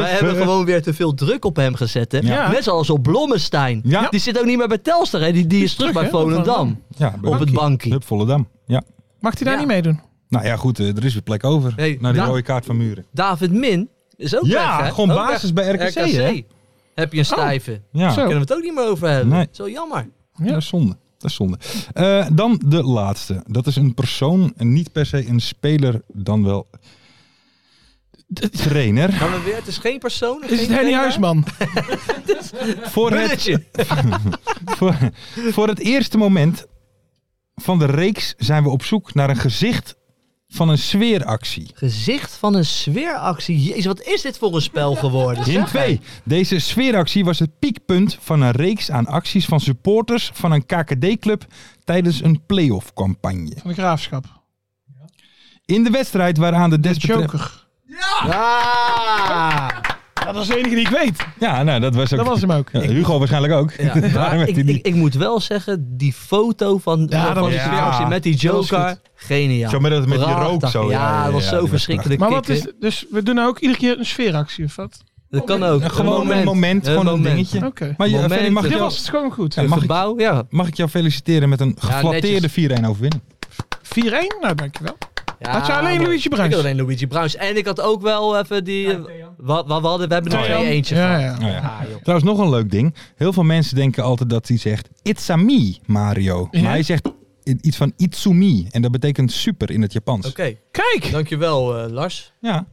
Wij hebben gewoon weer te veel druk op hem gezet. Hè?
Dus Ja.
Net zoals op Blommestein.
Ja.
Die zit ook niet meer bij Telstar. Hè? Die, die is terug bij
terug, hè, op
Volendam.
ja,
Op het bankje.
Hup Volendam. Ja.
Mag hij daar
Ja.
niet meedoen?
Nou ja, goed, eh, er is weer plek over.
Nee,
Naar die
nou-
rode kaart van Muren.
David Min is ook
Ja,
weg, hè?
gewoon
Ook
basis
weg.
bij RKC, hè?
Heb je een stijve.
Ja,
Zo.
Kunnen we het ook niet meer over hebben.
Nee.
Zo jammer.
dat is zonde. Dat is zonde. Eh, dan de laatste. Dat is een persoon en niet per se een speler dan wel trainer.
Gaan we weer? Het is geen persoon.
Is het Henny Huisman?
Voor het,
Bulletje.
(laughs) voor, voor het eerste moment van de reeks zijn we op zoek naar een gezicht van een sfeeractie.
Gezicht van een sfeeractie. Jezus, wat is dit voor een spel geworden?
Hint 2. Deze sfeeractie was het piekpunt van een reeks aan acties van supporters van een KKD-club tijdens een play-off campagne.
Van de
(laughs)
Graafschap.
In de wedstrijd waaraan de
De
desbetreffende...
Joker.
Ah!
Ja, dat is de enige die ik weet.
Ja, nou, dat was ook...
Dat was hem ook.
Ja, Hugo waarschijnlijk ook. (laughs) Daarom
Maar
heeft
ik,
hij
ik,
die-
ik moet wel zeggen, die foto van,
Ja, dat
van
was-
die
ja.
reactie met die
Dat was
Joker,
goed.
geniaal.
Zo met dat- met die
Prachtig.
rook zo,
Ja,
ja, ja,
dat was
ja,
zo
die was
verschrikkelijk
Maar
kick,
wat is,
hè.
dus we doen nou ook iedere keer een sfeeractie of wat?
Dat kan ook.
Gewoon een moment, gewoon een
moment.
dingetje.
Oké.
Maar je,
Moment,
Ferry, mag, ik
Dit
jou-
was het gewoon goed. 4-1?
Een
mag ik-
gebouw, ja.
mag ik jou feliciteren met een geflatteerde 4-1 overwinning?
Nou, dankjewel.
ja.
Had je alleen
maar-
Luigi Bruins?
Ik had alleen Luigi Bruins. En ik had ook wel even die... wat, wat, we hadden, we hebben er twee eentje
Ja,
van. Ah,
ja.
Nou ja. Trouwens, nog een leuk ding. Heel veel mensen denken altijd dat hij zegt It's a me, Mario.
Ja?
Maar hij zegt i- iets van Itsumi. En dat betekent super in het Japans.
Oké,
Kijk!
dankjewel eh, Lars.
Ja.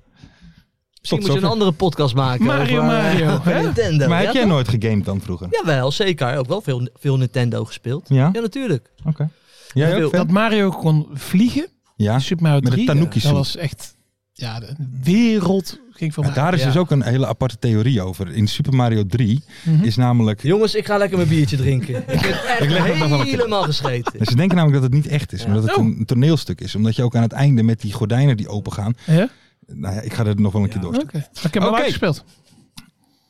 Misschien
Tot
moet je een
zover.
andere podcast maken
Mario,
over, eh, (laughs)
Mario,
over
hè?
Nintendo.
Maar
Ja,
heb jij
toch?
nooit gegamed dan vroeger?
Jawel, zeker. Ook wel veel, veel Nintendo gespeeld.
Ja?
Ja, natuurlijk.
Oké. Jij
Veel.
ook? Fer?
Dat Mario kon vliegen,
Ja.
Super Mario
Met de
3,
Tanuki
dat
suit.
was echt... Ja, de wereld ging voor
Maar
mij.
daar is
Ja.
dus ook een hele aparte theorie over. In Super Mario 3 is namelijk...
Jongens, ik ga lekker mijn biertje drinken.
(laughs)
ik ben echt
leg het nog wel een keer.
helemaal gescheten.
Ze denken namelijk dat het niet echt is, maar dat het
Oh.
een toneelstuk is. Omdat je ook aan het einde met die gordijnen die opengaan...
Ja?
Nou ja, ik ga er nog wel een keer door.
Oké. Ik heb hem
Oké.
al gespeeld.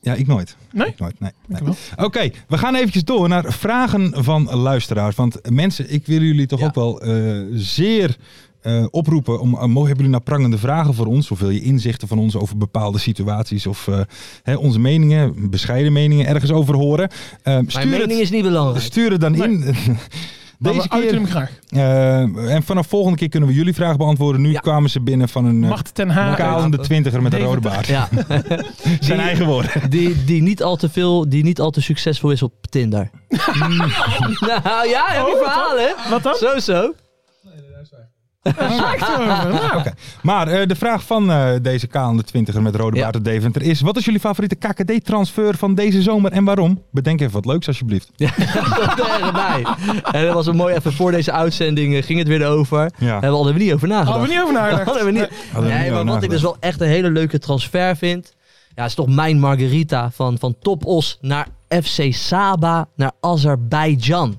Ja, ik nooit.
Nee?
Ik nooit, nee. nee.
Ik wel.
Oké, we gaan eventjes door naar vragen van luisteraars. Want mensen, ik wil jullie toch
Ja.
ook wel eh, zeer eh, oproepen. Om, eh, mogen hebben jullie nou prangende vragen voor ons? Of wil je inzichten van ons over bepaalde situaties? Of eh, hè, onze meningen, bescheiden meningen, ergens over horen? Eh,
Mijn
stuur,
mening
het,
is niet belangrijk.
stuur het dan in. (laughs)
Maar
Deze
we uiten
keer,
hem graag.
eh, en vanaf volgende keer kunnen we jullie vragen beantwoorden. Nu
Ja.
kwamen ze binnen van een eh,
Macht ten Haag.
kalende twintiger met een rode baard.
Ja,
Zijn eigen woorden.
die, die, niet al te veel, die niet al te succesvol is op
(laughs)
Tinder. nou ja, heb je verhaal, hè?
Oh, Wat dan?
Zo, zo.
Nou.
Maar eh, de vraag van eh, deze kalende twintiger met rode
Ja.
baard uit Deventer is... Wat is jullie favoriete KKD-transfer van deze zomer en waarom? Bedenk even wat leuks alsjeblieft.
Tot erbij. En dat was een mooi even voor deze uitzending eh, ging het weer over. Daar
Ja.
hebben we hadden we niet over nagedacht.
Hadden we niet over nagedacht.
(laughs) Hadden we niet.
we niet
Nee,
over
maar wat ik
nagedacht.
dus wel echt een hele leuke transfer vind. Ja, is toch mijn Margarita van, van Top Os naar FC Saba naar Azerbeidzjan.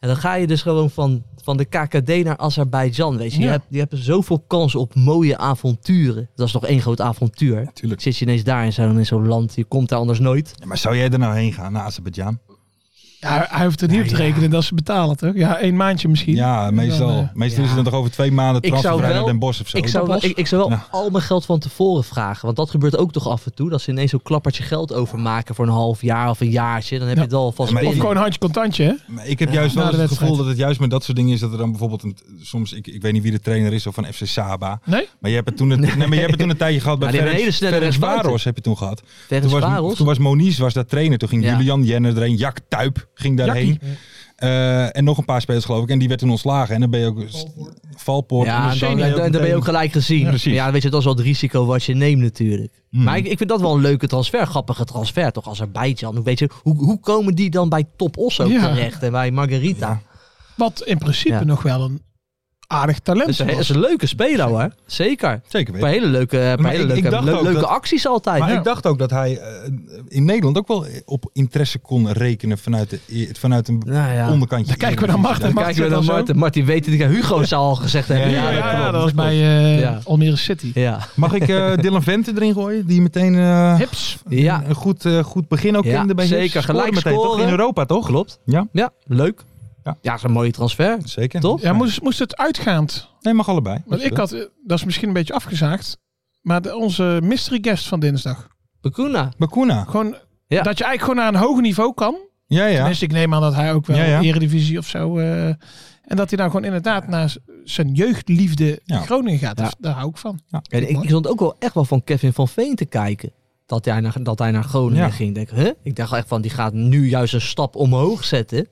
En dan ga je dus gewoon van, van de KKD naar Azerbeidzjan. Weet je, je,
Ja.
hebt, je hebt zoveel kans op mooie avonturen. Dat is nog één groot avontuur.
Tuurlijk.
Zit je ineens daar in zo'n, in zo'n land, je komt daar anders nooit.
Ja, maar zou jij er nou heen gaan, naar Azerbeidzjan?
Ja, hij hoeft er niet op te rekenen dat ze betalen, toch? Ja, één maandje misschien.
Ja, meestal.
Dan, eh,
meestal is
ja.
het dan toch over twee maanden
Ik zou
transfervrij naar
wel-
Den Bosch of zo.
Ik zou, wel,
Dat was-
ik, ik zou wel
Ja.
al mijn geld van tevoren vragen. Want dat gebeurt ook toch af en toe. Dat ze ineens zo'n klappertje geld overmaken voor een half jaar of een jaartje. Dan heb
Ja.
je het al vast
Ja, maar
Of
binnen.
gewoon een handje contantje, hè?
Maar ik heb juist wel
na de
eens het
wedstrijd.
gevoel dat het juist met dat soort dingen is... dat er dan bijvoorbeeld een, soms... Ik, ik weet niet wie de trainer is of van FC Saba...
Nee?
Maar je hebt het toen een, nee. maar je hebt het toen een tijdje gehad bij
Maar Nou, die hebben een
Ferenc
hele snelle
Ferenc
rechtsbuiten.
Varos heb je toen gehad.
Ferenc
Toen was,
Varos?
toen was Moniz was daar trainer. Toen ging
Ja.
Julian Jenner erheen. Jack Tuip ging daarheen. Eh, en nog een paar spelers geloof ik. En die werd toen ontslagen. En dan ben je ook... Valpoort.
Ja, en dan, en, en dan ben je ook gelijk gezien.
Ja,
Ja,
precies.
weet je, dat is wel het risico wat je neemt natuurlijk.
Mhm.
Maar ik, ik vind dat wel een leuke transfer, grappige transfer toch, Azerbeidzjan. Hoe, weet je, hoe, hoe komen die dan bij Top Osso
Ja.
terecht en bij Margarita?
Wat in principe
Ja.
nog wel een aardig talent
Dat is,
is.
een, dat Dus is een leuke speler hoor, zeker.
Zeker
Een paar
weten.
hele leuke, een paar
Maar
hele
ik- ik
leuke,
dacht
le-
ook
leuke
dat-
acties altijd.
Maar
Ja.
ik dacht ook dat hij eh, in Nederland ook wel op interesse kon rekenen vanuit, de, vanuit een
Nou ja.
onderkantje.
Daar kijken we naar Marten.
Dan
Martin
kijken we naar
zit al zo.
Martin. Martin weet dat Hugo zou al gezegd hebben.
Ja,
Ja, ja,
klopt,
dat was
klopt.
bij eh,
Ja.
Almere City.
Ja.
Mag ik eh, (laughs) Dylan Vente erin gooien? Die meteen eh,
Hips.
Ja.
een goed, eh, goed begin ook
Ja,
kende bij
zeker.
Hips. Scoorde
Gelijk
meteen,
scoren.
Toch? In Europa toch? Klopt. Ja,
ja, leuk.
Ja.
Ja, dat is een mooie transfer.
zeker.
Toch?
Ja, moest, moest het uitgaand?
Nee, mag allebei.
Want ik had, eh, dat is misschien een beetje afgezaagd, maar de- onze mystery guest van dinsdag.
Bakuna.
Bakuna.
Gewoon
Ja.
dat je eigenlijk gewoon naar een hoger niveau kan.
Ja, ja.
Tenminste, ik neem aan dat hij ook wel
Ja, ja.
eredivisie of zo. eh, en dat hij nou gewoon inderdaad naar z- zijn jeugdliefde
Ja.
Groningen gaat.
Ja.
Dus daar hou ik van.
En ik, ik stond ook wel echt wel van Kevin van Veen te kijken. Dat hij naar, dat hij naar Groningen
Ja.
ging. Denk, ik, hè? Ik dacht echt van, die gaat nu juist een stap omhoog zetten.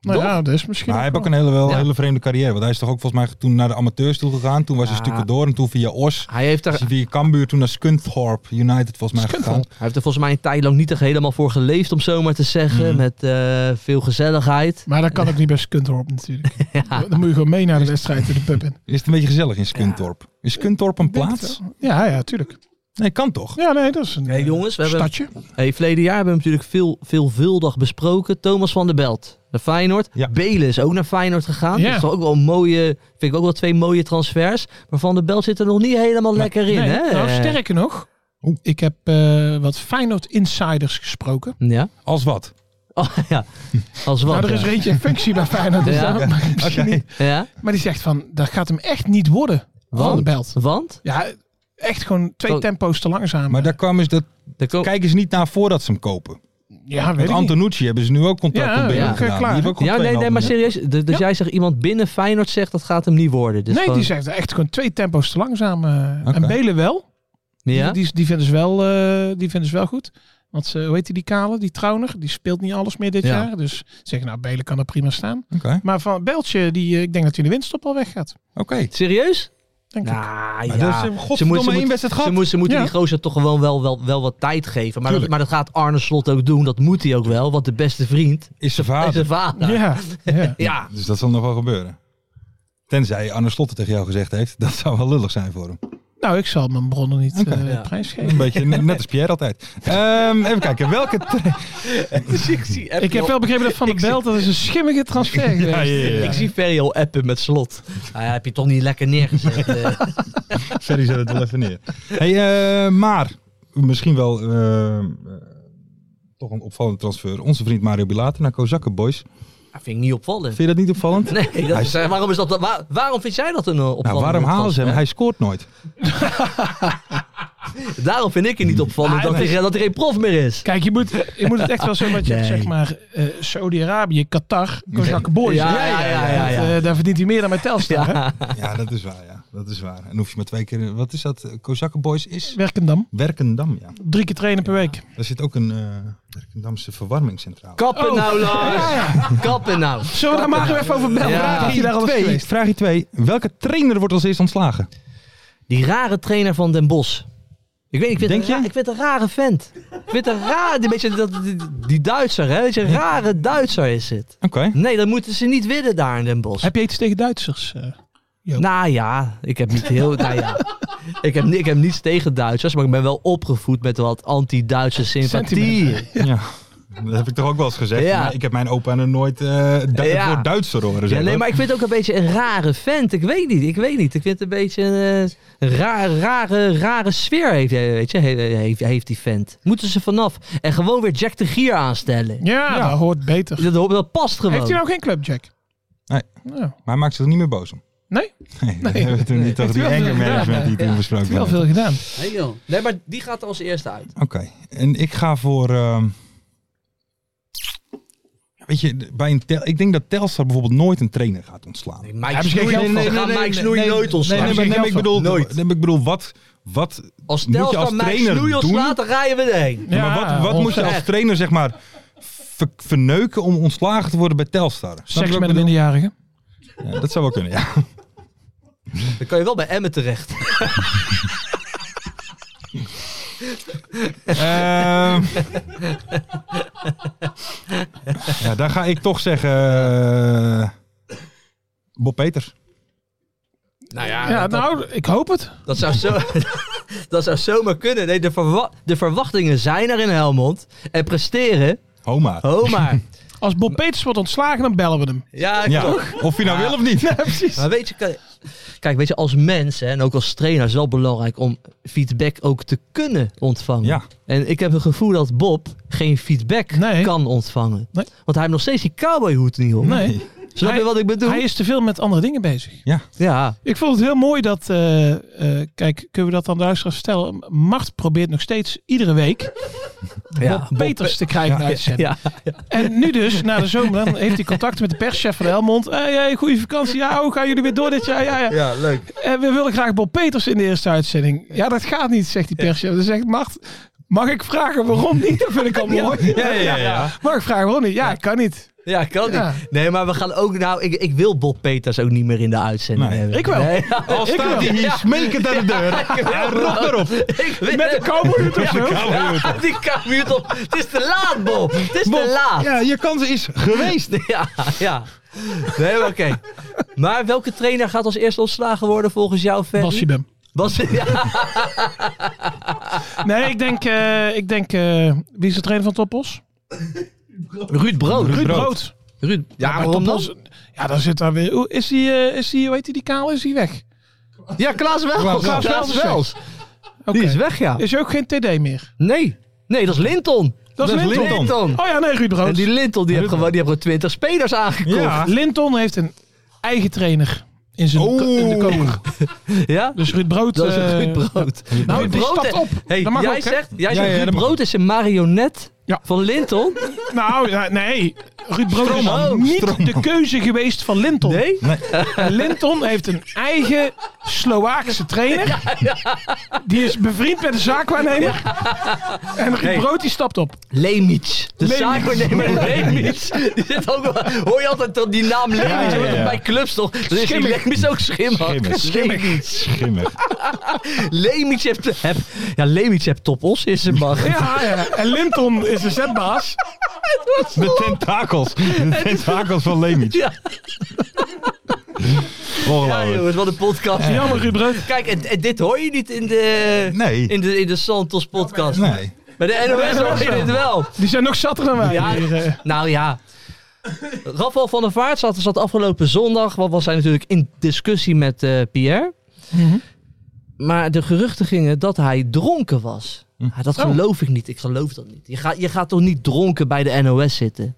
Nou
Toch?
ja, dus misschien.
Maar hij heeft
wel.
ook een hele, wel,
Ja.
hele vreemde carrière. Want hij is toch ook volgens mij toen naar de amateurs toe gegaan. Toen was hij
Ja.
stukken door en toen via Os.
Hij heeft, er,
Is hij
hij
via Cambuur toen naar Scunthorpe United volgens mij gegaan.
Skundhorp.
heeft er volgens mij een tijd lang niet echt helemaal voor geleefd, om zo maar te zeggen.
Mm-hmm.
Met eh, veel gezelligheid.
Maar dat kan ook niet bij Skundhorp natuurlijk.
(laughs) Ja.
Dan moet je gewoon mee naar de wedstrijd in de pub in.
Is het een beetje gezellig in Scunthorp? Is Scunthorp een
Ik denk
plaats?
het wel. Ja, ja, tuurlijk.
Nee, kan toch?
Ja, nee, dat is een
Hey,
eh,
jongens, we hebben-
stadje.
Hey, verleden jaar hebben we natuurlijk veel, veelvuldig besproken. Thomas van der Belt naar Feyenoord.
Ja.
Belen is ook naar Feyenoord gegaan.
Ja.
Dat is toch ook wel een mooie, vind ik ook wel twee mooie transfers. Maar van der Belt zit er nog niet helemaal lekker in.
Nee,
hè?
nou,
Eh,
sterker nog,
Oeh.
Ik heb eh, wat Feyenoord insiders gesproken.
Ja. (laughs)
Als wat?
Oh, ja. Als wat.
nou, er is
ja.
er eentje in functie bij Feyenoord. Dus
Ja. (laughs)
daarom mag ik misschien
Oké.
niet.
Ja?
Maar die zegt van, dat gaat hem echt niet worden.
Want?
Van de belt.
Want?
Ja, echt gewoon twee
Oh.
tempo's te langzaam.
Maar daar kwam dus dat,
Er ko-
kijken ze niet naar voordat ze hem kopen.
Oh. ja, weet
Met
ik niet.
Antonucci hebben ze nu ook contact
Ja,
op
ja,
ja, gedaan.
klaar.
Die hebben ook
ja,
al
nee, nee,
2,5
maar
miljoen.
serieus. d- Dus
Ja.
jij zegt iemand binnen Feyenoord zegt dat gaat hem niet worden. Dus
nee,
gewoon-
die zegt echt gewoon twee tempo's te langzaam. eh.
Oké.
En Belen wel.
Ja?
Die, die vinden ze wel, eh, die vinden ze wel goed. Want ze, hoe heet die, die kale, die trouwner, die speelt niet alles meer dit
Ja.
jaar. Dus ze zeggen, nou, Belen kan er prima staan.
Oké,
Maar van Beltje, die, eh, ik denk dat hij in de winststop al weggaat.
oké.
Serieus?
Denk ik.
Nou,
Maar
ja.
dat is, eh,
Ze moet-
godverdomme
ze
één
moet-
wedstrijd
Ze,
gehad.
moet- ze moeten
Ja.
die gozer toch gewoon wel, wel, wel, wel wat tijd geven. Maar dat,
Tuurlijk.
maar dat gaat Arne Slot ook doen. Dat moet hij ook wel. Want de beste vriend
Is zijn
is
vader.
zijn vader.
Ja, (laughs) ja.
Ja.
Dus dat zal nog wel gebeuren. Tenzij Arne Slot het tegen jou gezegd heeft. (laughs) Dat zou wel lullig zijn voor hem.
Nou, ik zal mijn bronnen niet
Oké.
eh,
Ja.
Een
(laughs) prijsgeven.
beetje net net als Pierre altijd. Ehm, even kijken, welke... tra-
ik zie,
Ik heb (laughs) wel begrepen dat Van de
Ik zie-
Belt, dat is een schimmige transfer geweest.
ja, ja, ja.
ik zie Ferry al appen met Slot. Nou ja, heb je toch niet lekker neergezet. eh.
Ferry zet het wel even neer. Hey, eh, maar misschien wel eh, eh, toch een opvallende transfer. Onze vriend Mario Bilater naar Kozakken Boys.
Dat vind ik niet opvallend.
Vind je dat niet opvallend?
Nee, dat
Hij
is,
zegt-
waarom, is dat, waar- waarom vind jij dat een eh, opvallende
Nou, waarom halen ze hem?
transfer?
Hij scoort nooit.
Daarom vind ik het niet opvallend
Ah,
dat,
nee.
er, dat er geen prof meer is.
Kijk, je moet, je moet het echt wel zo dat je
Nee.
zeg maar eh, Saudi-Arabië, Qatar, Kozakke boys.
Ja,
hè?
ja, ja, ja, ja.
Want, eh, daar verdient hij meer dan bij Telstar. hè?
Ja.
Ja, dat is waar, ja. Dat is waar. En hoef je maar twee keer... Wat is dat? Kozakken Boys is...
Werkendam.
Werkendam, ja.
Drie keer trainen per week.
Daar zit ook een eh Werkendamse verwarmingscentrale.
Kappen nou, Lars. Kappen nou.
(laughs) Zullen we daar maar even over bellen?
Ja.
Vraag je daar al eens
Twee,
geweest?
vraagje 2. Welke trainer wordt als eerst ontslagen?
Die rare trainer van Den Bos. Ik weet, ik vind,
Denk
een, ra-
je?
ik vind een rare vent. Ik vind een raar, die, beetje, dat, die, die Duitser, hè? Weet je, een rare Duitser is het.
Oké.
Nee, dat moeten ze niet willen daar in Den Bos.
Heb je iets tegen Duitsers? eh?
Nou ja, ik heb niet heel. nou ja. Ik heb, ni- ik heb niets tegen Duitsers, maar ik ben wel opgevoed met wat anti-Duitse sympathie.
Sentiment.
Ja. Dat heb ik toch ook wel eens gezegd.
Ja.
Maar ik heb mijn opa nog nooit eh du
Ja.
het woord Duitser horen
Ja,
zeggen.
nee, maar ik vind het ook een beetje een rare vent. Ik weet niet, ik weet niet. Ik vind het een beetje een eh, raar, rare, rare sfeer heeft, hij, weet je, he- heeft, heeft die vent. Moeten ze vanaf. En gewoon weer Jack de Gier aanstellen.
Ja, dat hoort beter.
Dat, ho- dat past gewoon.
Heeft hij nou geen club, Jack?
Nee.
Nou,
Maar hij maakt zich er niet meer boos om. (laughs)
Nee?
Nee, dat hebben we toen niet over
Heeft
die
hij wel
anger
veel
management die toen
Ja.
besproken
wel
werd.
veel gedaan.
Nee, joh. nee, maar die gaat er als eerste uit.
Oké, en ik ga voor... ehm, Weet je, d- bij een tel, ik denk dat Telstar bijvoorbeeld nooit een trainer gaat ontslaan.
Nee, Mike
Hebben ze geen
Snoei,
geld
nee, nee,
voor? Nee,
nee,
nee,
Mike
nee,
Snoei
nee,
nooit
nee,
ontslaan.
nee,
maar
geen
ik
geld
bedoel,
van. Nooit.
nee, maar ik bedoel wat, wat,
als
moet je als
Telstar Mike
trainer
Snoei
doen?
ontslaat, dan rijden we erheen.
Ja,
maar wat, wat moet je als
echt.
trainer zeg maar ver- verneuken om ontslagen te worden bij Telstar? Snap je wat
Seks
ik
met een
bedoel?
minderjarige.
Ja, dat zou wel kunnen, ja.
Dan kan je wel bij Emmen terecht.
Ehm. ja, daar ga ik toch zeggen. eh, Bob Peters.
Nou ja,
Ja,
dat-
nou, ik hoop het.
Dat zou, zo, (laughs) dat zou zomaar kunnen. Nee, de, verwa- de verwachtingen zijn er in Helmond. En presteren,
Homa.
oh maar.
Als Bob Peters wordt ontslagen, dan bellen we hem.
Ja,
Ja,
klopt.
of je nou wil of niet.
Maar weet je, kijk- kijk, weet je, als mens hè, en ook als trainer is het wel belangrijk om feedback ook te kunnen ontvangen.
Ja.
En ik heb het gevoel dat Bob geen feedback
Nee.
kan ontvangen.
Nee.
Want hij heeft nog steeds die cowboyhoed niet op.
Nee,
Snap je
Hij-
wat ik bedoel?
hij is te veel met andere dingen bezig.
Ja,
Ik vond het heel mooi dat, eh, eh, kijk, kunnen we dat aan de luisteraars vertellen? Mart probeert nog steeds iedere week
ja.
Bob Peters te krijgen uit te zetten.
Ja,
En nu dus, na de zomer, dan heeft hij contact met de perschef van Helmond. Hey, hey, goede vakantie. Ja, hoe gaan jullie weer door dit jaar? Ja, ja.
Ja, leuk.
En we willen graag Bob Peters in de eerste uitzending. Ja, dat gaat niet, zegt die perschef. Dan zegt Mart, mag ik vragen waarom niet? Dat vind ik al mooi.
Ja, ja, ja.
Mag ik vragen waarom niet? Ja, kan niet.
ja kan
Ja.
niet. Nee, maar we gaan ook, nou, ik, ik wil Bob Peters ook niet meer in de uitzending
Nee.
hebben.
Ik wel. (laughs)
Nee, ja.
Al staat hij hier smekend aan de deur. Ja, rot maar op.
(laughs) Ik wil-
Met een cowboyhoed of zo.
Ja, die kamer op. Het is te laat, Bob. Het is
Bob,
te laat. Ja,
Ja, je kans is geweest.
(laughs) ja. Nee, maar oké. Maar welke trainer gaat als eerste ontslagen worden volgens jou, Ferry?
Bassie Bem.
Bas- (laughs) ja.
(laughs) Nee, ik denk, eh, ik denk eh, wie is de trainer van Toppos?
Ruud Brood.
Ruud
Brood.
Brood.
Ruud. Ja,
maar
waarom
Toppos-
dan?
Ja, dan zit daar weer. Oeh, Is die, eh, is die, hoe heet die, die kaal, is die weg?
Ja, Klaas Wels.
Klaas Wels is weg. Oké.
Die is weg, ja.
Is er ook geen TD meer?
Nee, nee, dat is Linton.
Dat, is Linton. Oh ja, nee, Ruud
En
Brood.
die Linton, die heeft gewoon, die heeft gewoon 20 spelers aangekocht. Ja.
Ja.
Linton heeft een eigen trainer in zijn ko- in de koker. Dus Ruud Brood...
Dat is
eh,
een goed brood.
Nou,
Ruud
die
Brood,
stapt
hè.
op.
Hey,
Dat mag
jij
ook, hè?
zegt, jij
Ja,
zegt
ja,
Ruud
dat mag
Brood is een marionet
Ja.
van Linton?
Nou, ja, nee. Ruud Brood is
Stroomman.
niet de keuze geweest van Linton.
Oh. Nee?
En Linton heeft een eigen Sloaakse trainer. Die is bevriend met de zaakwaarnemer. En Ruud Brood die stapt op.
Lemits. De
Lemits.
zaakwaarnemer Lemits. Die zit ook wel, hoor je altijd dat die naam Lemits
ja,
hoort
ja.
bij clubs toch? Dan is die
Schimmig.
Lemits ook schimmig.
Schimmig.
Lemits.
Schimmig.
Lemits heeft, heb, ja, Lemits heeft topos in zijn macht.
Ja, ja. En Linton is de zetbaas.
De tentakels. De tentakels van Lemits.
Ja, ja
Ongelooflijk.
jongens, wat een podcast.
Jammer, Ruud Brood.
Kijk, en, en dit hoor je niet in de,
Nee.
in de, in de Santos podcast.
Nee.
Bij de NOS hoor je dit wel.
Die zijn nog zatter dan wij.
Ja.
hier, eh.
Nou ja. Rafael van der Vaart zat, zat afgelopen zondag, wat was hij natuurlijk in discussie met eh, Pierre.
Mhm.
Maar de geruchten gingen dat hij dronken was. Ja, dat geloof ik niet. Ik geloof dat niet. Je gaat, je gaat toch niet dronken bij de NOS zitten?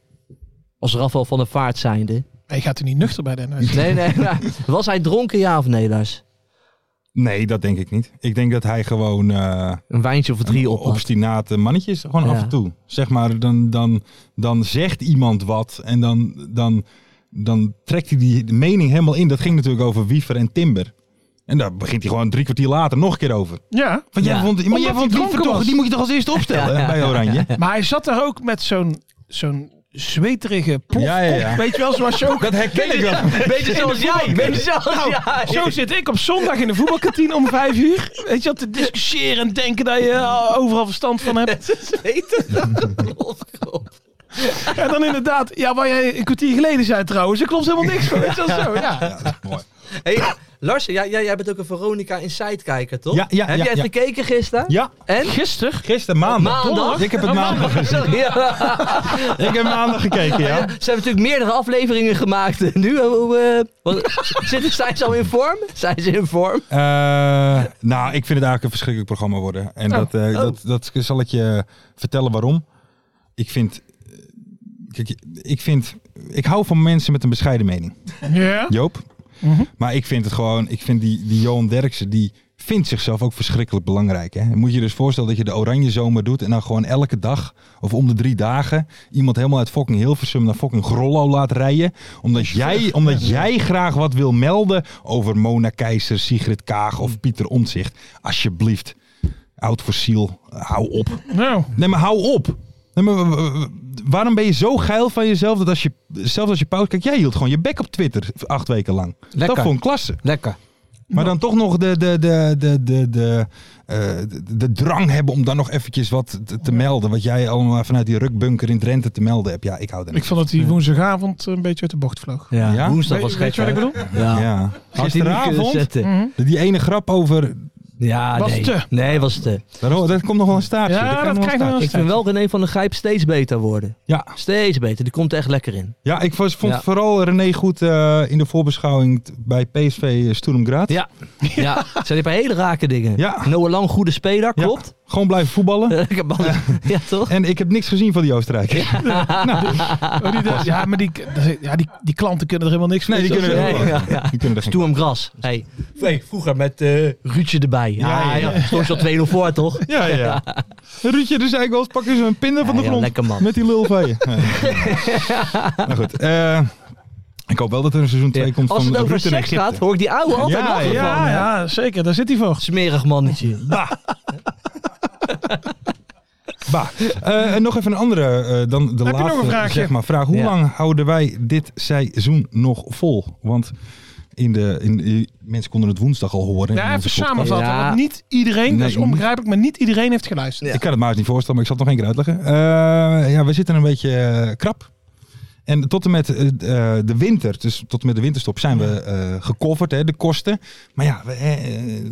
Als Rafael van der Vaart zijnde.
Hij gaat er niet nuchter bij de NS.
Nee, nee. (laughs) maar was hij dronken, ja of nee, Lars?
Nee, dat denk ik niet. Ik denk dat hij gewoon eh,
Een wijntje of
een
drie op. had.
obstinate mannetje is. eh, Gewoon af
Ja.
en toe. Zeg maar, dan, dan, dan zegt iemand wat en dan, dan, dan trekt hij die mening helemaal in. Dat ging natuurlijk over Wiever en Timber. En daar begint hij gewoon drie kwartier later nog een keer over.
Ja.
Want jij
Ja.
vond, maar jij
Omdat
vond
hij
Wiever
dronken
toch,
was.
die moet je toch als eerste opstellen hè, bij Oranje?
Maar hij zat daar ook met zo'n zo'n zweterige plof.
Ja, ja, ja.
Weet je wel, zoals je ook...
Dat herken ik wel.
Beetje zoals jij. Beetje zoals
Nou,
jij.
Zo zit ik op zondag in de voetbalkantine om vijf uur. Weet je wat, te discussiëren en denken dat je eh, overal verstand van hebt.
(laughs)
En dan inderdaad, ja, waar jij een kwartier geleden zei trouwens, er klopt helemaal niks van. Weet je wel zo, ja.
Mooi.
Hey, Lars, jij, jij, jij bent ook een Veronica Insight kijker, toch?
Ja, ja,
Heb
ja,
jij het
ja.
gekeken gisteren?
Ja,
En?
Gisteren?
gisteren maandag.
Maandag?
Ik heb het maandag gezien.
(laughs) Ja.
Ik heb maandag gekeken, ja.
Ze hebben natuurlijk meerdere afleveringen gemaakt. eh, Nu, hoe, hoe, eh, wat- (laughs) zitten, zijn ze al in vorm? Zijn ze in vorm?
Eh, nou, ik vind het eigenlijk een verschrikkelijk programma worden. En dat, eh, dat, dat zal ik je vertellen waarom. Ik vind... eh, Kijk, ik vind... Ik hou van mensen met een bescheiden mening.
Ja.
Joop. Maar ik vind het gewoon... Ik vind die, die Johan Derksen, die vindt zichzelf ook verschrikkelijk belangrijk. Hè? Moet je je dus voorstellen dat je de oranje zomer doet... en dan gewoon elke dag of om de drie dagen... iemand helemaal uit fucking Hilversum naar fucking Grollo laat rijden... omdat jij, omdat jij graag wat wil melden over Mona Keizer, Sigrid Kaag of Pieter Omtzigt. Alsjeblieft. Oud fossiel, hou op.
Nou,
Nee, maar hou op. Nee, maar, w- w- waarom ben je zo geil van jezelf dat als je, zelfs als je pauze... Kijk, jij hield gewoon je bek op Twitter acht weken lang.
Lekker.
Dat vond ik klasse.
Lekker.
Maar dan toch nog de, de, de, de, de, de, eh, de, de drang hebben om dan nog eventjes wat te, te melden. Wat jij allemaal vanuit die rukbunker in Drenthe te melden hebt. Ja, ik hou daar
ik
niet
vond dat hij woensdagavond een beetje uit de bocht vloog.
Ja,
Ja?
woensdag
Weet,
was
weet
gek.
je wat ik
hè?
bedoel?
van.
Ja.
Ja.
Had hij niet kunnen
Gisteravond,
zetten.
Mhm.
die ene grap over...
Ja,
Was
Ah, nee.
te.
Nee, was te.
Daar, dat komt nog wel een staartje.
Ja,
Daar
dat
nog wel
krijgt nog wel
een
een
Ik vind wel René van der Gijp steeds beter worden.
staartje. Ja,
Steeds beter. Die komt er echt lekker in.
ja, ik vond vond
Ja.
vooral René goed eh, in de voorbeschouwing t- bij PSV eh, Sturm Graz.
Ja. Ja. Zijn die een paar hele rake dingen.
Ja.
Noah Lang, goede speler.
Ja.
Klopt. (laughs)
Gewoon blijven voetballen.
Ik heb al- Ja, toch?
En ik heb niks gezien van die Nou, dus Oostenrijkers. (laughs)
Oh, die- dat- ja, maar die, ja, die, die klanten kunnen er helemaal niks van.
Nee, die kunnen,
Ja,
er,
ja, ja.
die kunnen er geen.
Toen hem gras. Hey. Hey, vroeger met eh Ruudje erbij. Ja, ja,
Ja, ja.
Stond je al 2-0 voor, toch?
Ja, ja,
(laughs)
ja. Ruudje de zijgoals pakken ze een pinder van
Ja,
de
ja,
grond.
lekker man.
Met die
(laughs)
lulveeën. nou goed. eh, ik hoop wel dat er een seizoen 2
Ja.
komt
Als
van
het over
Ruud en
seks
Egypte.
gaat, hoor ik die
(laughs)
ouwe altijd
Ja,
lachen van,
Ja,
hè?
ja, zeker. Daar zit hij voor.
Smerig mannetje.
Bah. Eh, en nog even een andere eh, dan de
Heb je
laatste
nog een vraagje?
zeg maar, vraag. Hoe
Ja.
lang houden wij dit seizoen nog vol? Want in de, in, in- mensen konden het woensdag al horen. in
Ja,
onze
even
podcast.
samenvatten.
Ja.
Want niet iedereen,
Nee,
dat is onbegrijpelijk, maar niet iedereen heeft geluisterd.
Ik kan het maar eens niet voorstellen, maar ik zal het nog één keer uitleggen. Eh, ja, we zitten een beetje eh, krap. En tot en met eh, eh, de winter, dus tot en met de winterstop, zijn we eh gecoverd, hè, de kosten. Maar ja, we, eh, eh,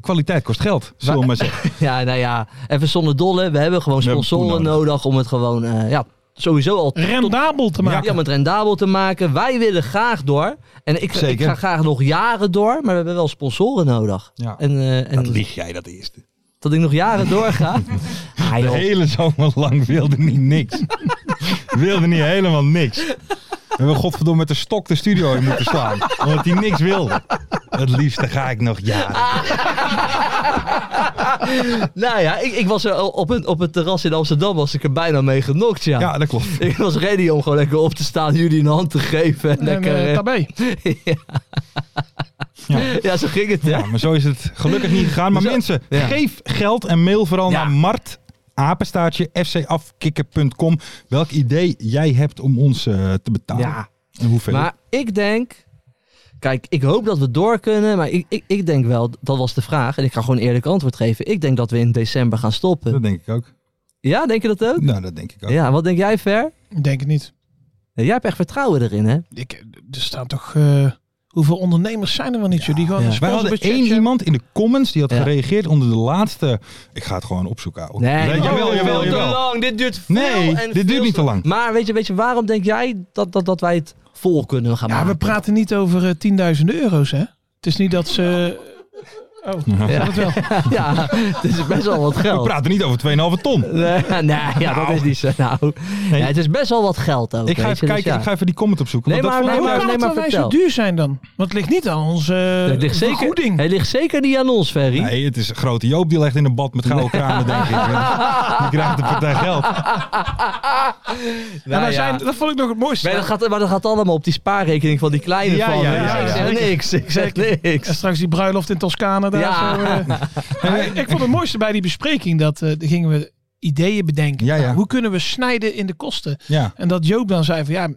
kwaliteit kost geld, zullen we maar zeggen.
Ja, nou ja. Even zonder dolle. We hebben gewoon
We hebben
sponsoren
poen
nodig.
nodig.
om het gewoon, eh, ja, sowieso al
Rendabel te maken.
ja, om het rendabel te maken. Wij willen graag door. En ik, ik
Zeker.
ga graag nog jaren door. Maar we hebben wel sponsoren nodig.
Ja.
En, eh, en,
lieg jij dat eerste.
Dat ik nog jaren
(laughs)
doorga. Ah,
De
joh.
hele zomer lang wilde niet niks. wilde niet helemaal niks. We hebben godverdomme met de stok de studio in moeten slaan. Omdat hij niks wilde. Het liefste ga ik nog jaren.
Nou ja, ik, ik was er al op, een, op het terras in Amsterdam was ik er bijna mee genokt, ja.
Ja, dat klopt.
Ik was ready om gewoon lekker op te staan, jullie een hand te geven. En
En,
lekker,
eh,
eh,
daarbij.
Ja.
(laughs) ja, zo ging het. hè.
Ja, maar zo is het gelukkig niet gegaan. Maar
Zo-
mensen,
ja.
geef geld en mail vooral
Ja.
naar Mart. Apenstaartje fcafkikker.com. Welk idee jij hebt om ons eh, te betalen?
Ja.
En hoeveel?
Maar ik denk. Kijk, ik hoop dat we door kunnen. Maar ik, ik, ik denk wel, dat was de vraag. En ik ga gewoon eerlijk antwoord geven. Ik denk dat we in december gaan
Dat
stoppen.
denk ik ook.
Ja, denk je dat ook?
Nou, dat denk ik ook.
Ja, wat denk jij, Ver?
Ik Denk het niet.
Jij hebt echt vertrouwen erin, hè?
Ik, er staan toch... eh, hoeveel ondernemers zijn er wel niet, joh? Die gewoon
Ja.
een
Wij hadden
sponsorbudget
één
hebben.
iemand in de comments die had
Ja.
gereageerd onder de laatste. Ik ga het gewoon opzoeken, ouwe. jawel,
oh,
jawel,
veel
jawel.
te lang. Dit duurt veel
Nee,
en
dit
veel
duurt niet te lang.
Maar weet je, weet je waarom denk jij dat, dat, dat wij het vol kunnen gaan
Ja, we
maken?
praten niet over eh 10.000 euro's, hè? Het is niet dat ze... Oh,
Ja.
ja. dat wel.
(laughs) ja, het is best wel wat
We
geld.
praten niet over 2,5 ton.
Nee, (laughs) nee, ja, dat is niet zo. Nou, Ja, het is best wel wat geld ook.
Ik ga
weet je,
even
dus
kijken,
ja.
ik ga even die comment opzoeken.
Nee,
want dat
maar-
vond
Hoe
ik
nee,
wel-
kan het
maar
dat wij zo
vertel.
duur zijn dan? Want het ligt niet aan onze eh,
Het ligt, zeker,
vergoeding.
het ligt zeker niet aan ons, Ferry.
Nee, het is een grote Joop die legt in een bad met gouden kranen,
(laughs)
denk ik. Die krijgt een partij geld.
En
Nou
daar
ja.
zijn, dat vond ik nog het mooiste.
Maar dat, gaat, maar dat gaat allemaal op die spaarrekening van die kleine
Ja,
van.
ja,
me.
ja,
ik
ja.
zeg niks, ik zeg
En
niks.
straks die bruiloft in Toscane. Daar
Ja.
zo,
(laughs)
eh. Maar ik vond het mooiste bij die bespreking dat eh, daar gingen we ideeën bedenken.
Ja, ja.
Nou, hoe kunnen we snijden in de kosten?
Ja.
En dat Joop dan zei van ja,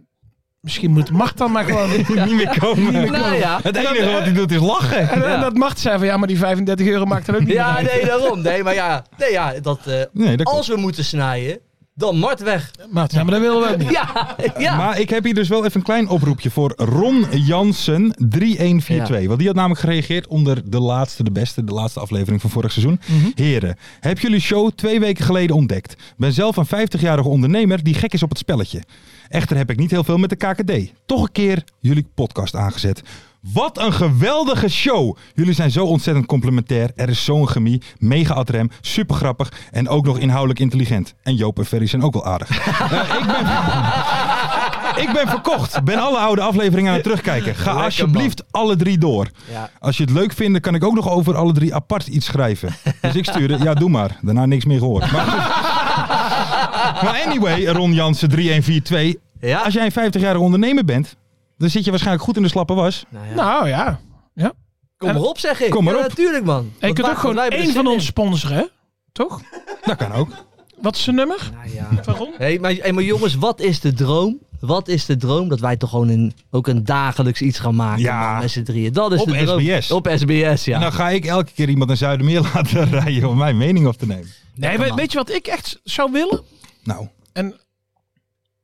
misschien moet Mart dan maar
(laughs)
gewoon.
Niet meer komen.
Nou
(laughs)
ja.
Het enige wat hij doet is lachen.
En, en dat Mart zei van ja, maar die 35 euro maakt er ook niet
Ja,
uit.
nee, daarom. Nee, maar ja, nee, ja dat, eh,
Nee, dat klopt.
als we moeten snijden, dan Mart weg.
Mart, ja, maar dat willen we ook niet.
Ja, ja.
Maar ik heb hier dus wel even een klein oproepje voor Ron Jansen 3142. Want die had namelijk gereageerd onder de laatste, de beste, de laatste aflevering van vorig seizoen. Heren, heb jullie show twee weken geleden ontdekt? Ben zelf een 50-jarige ondernemer die gek is op het spelletje. Echter heb ik niet heel veel met de KKD. Toch een keer jullie podcast aangezet. Wat een geweldige show! Jullie zijn zo ontzettend complementair. Er is zo'n chemie. Mega adrem. Super grappig. En ook nog inhoudelijk intelligent. En Joop en Ferry zijn ook wel aardig. Eh, ik ben ik ben verkocht. Ben alle oude afleveringen aan het terugkijken. Ga
Lekker,
alsjeblieft alle drie door.
Ja.
Als je het leuk vindt, dan kan ik ook nog over alle drie apart iets schrijven. Dus ik stuurde, ja doe maar. Daarna niks meer gehoord. Maar, goed. Maar anyway, Ron Jansen 3142.
Ja.
Als jij een 50-jarige ondernemer bent, dan zit je waarschijnlijk goed in de slappe was.
Nou ja.
Nou ja.
kom maar op, zeg ik.
Kom maar
Ja,
op.
natuurlijk, man.
En je
Want
kunt
wij-
ook gewoon
wij hebben er
één van
zin
ons sponsoren, hè? toch?
Dat kan ook.
Wat is zijn nummer?
in. Nou ja.
Waarom?
Hey, maar, hey, maar jongens, wat is de droom? Wat is de droom? Dat wij toch gewoon een, ook een dagelijks iets gaan maken
Ja.
man, met z'n drieën. Dat is
Op
de droom.
SBS.
Op SBS, ja.
En dan ga ik elke keer iemand naar Zuidermeer (laughs) laten rijden om mijn mening op te nemen.
Nee, we- weet je wat ik echt zou willen?
Nou,
En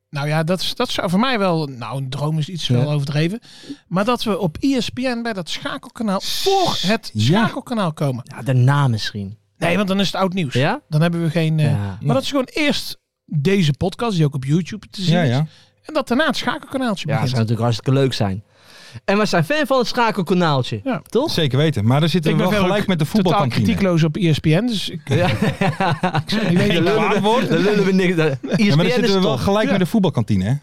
nou ja, dat, is- dat zou voor mij wel. Nou, een droom is iets
Ja.
wel overdreven. Maar dat we op E ESPN bij dat schakelkanaal voor het
Ja.
schakelkanaal komen.
ja, daarna misschien.
Nee, want dan is het oud nieuws.
Ja?
Dan hebben we geen. eh,
Ja.
Maar dat is gewoon eerst deze podcast, die ook op YouTube te zien
ja,
is.
ja.
En dat daarna het schakelkanaaltje
Ja, dat zou
begint.
natuurlijk hartstikke leuk zijn. En we zijn fan van het schakelkanaaltje,
Ja.
(laughs)
toch?
zeker weten. Maar dan zitten we wel
verder
gelijk
ook
met de
Totaal
voetbalkantine.
kritiekloos op ESPN. Dus ik,
Ja.
ik weet
Geen
niet.
kwaad woord.
Dan lullen we niks. dan-
Ja, maar
ESPN
dan
is
zitten we wel
top.
gelijk
Ja.
met de voetbalkantine, hè?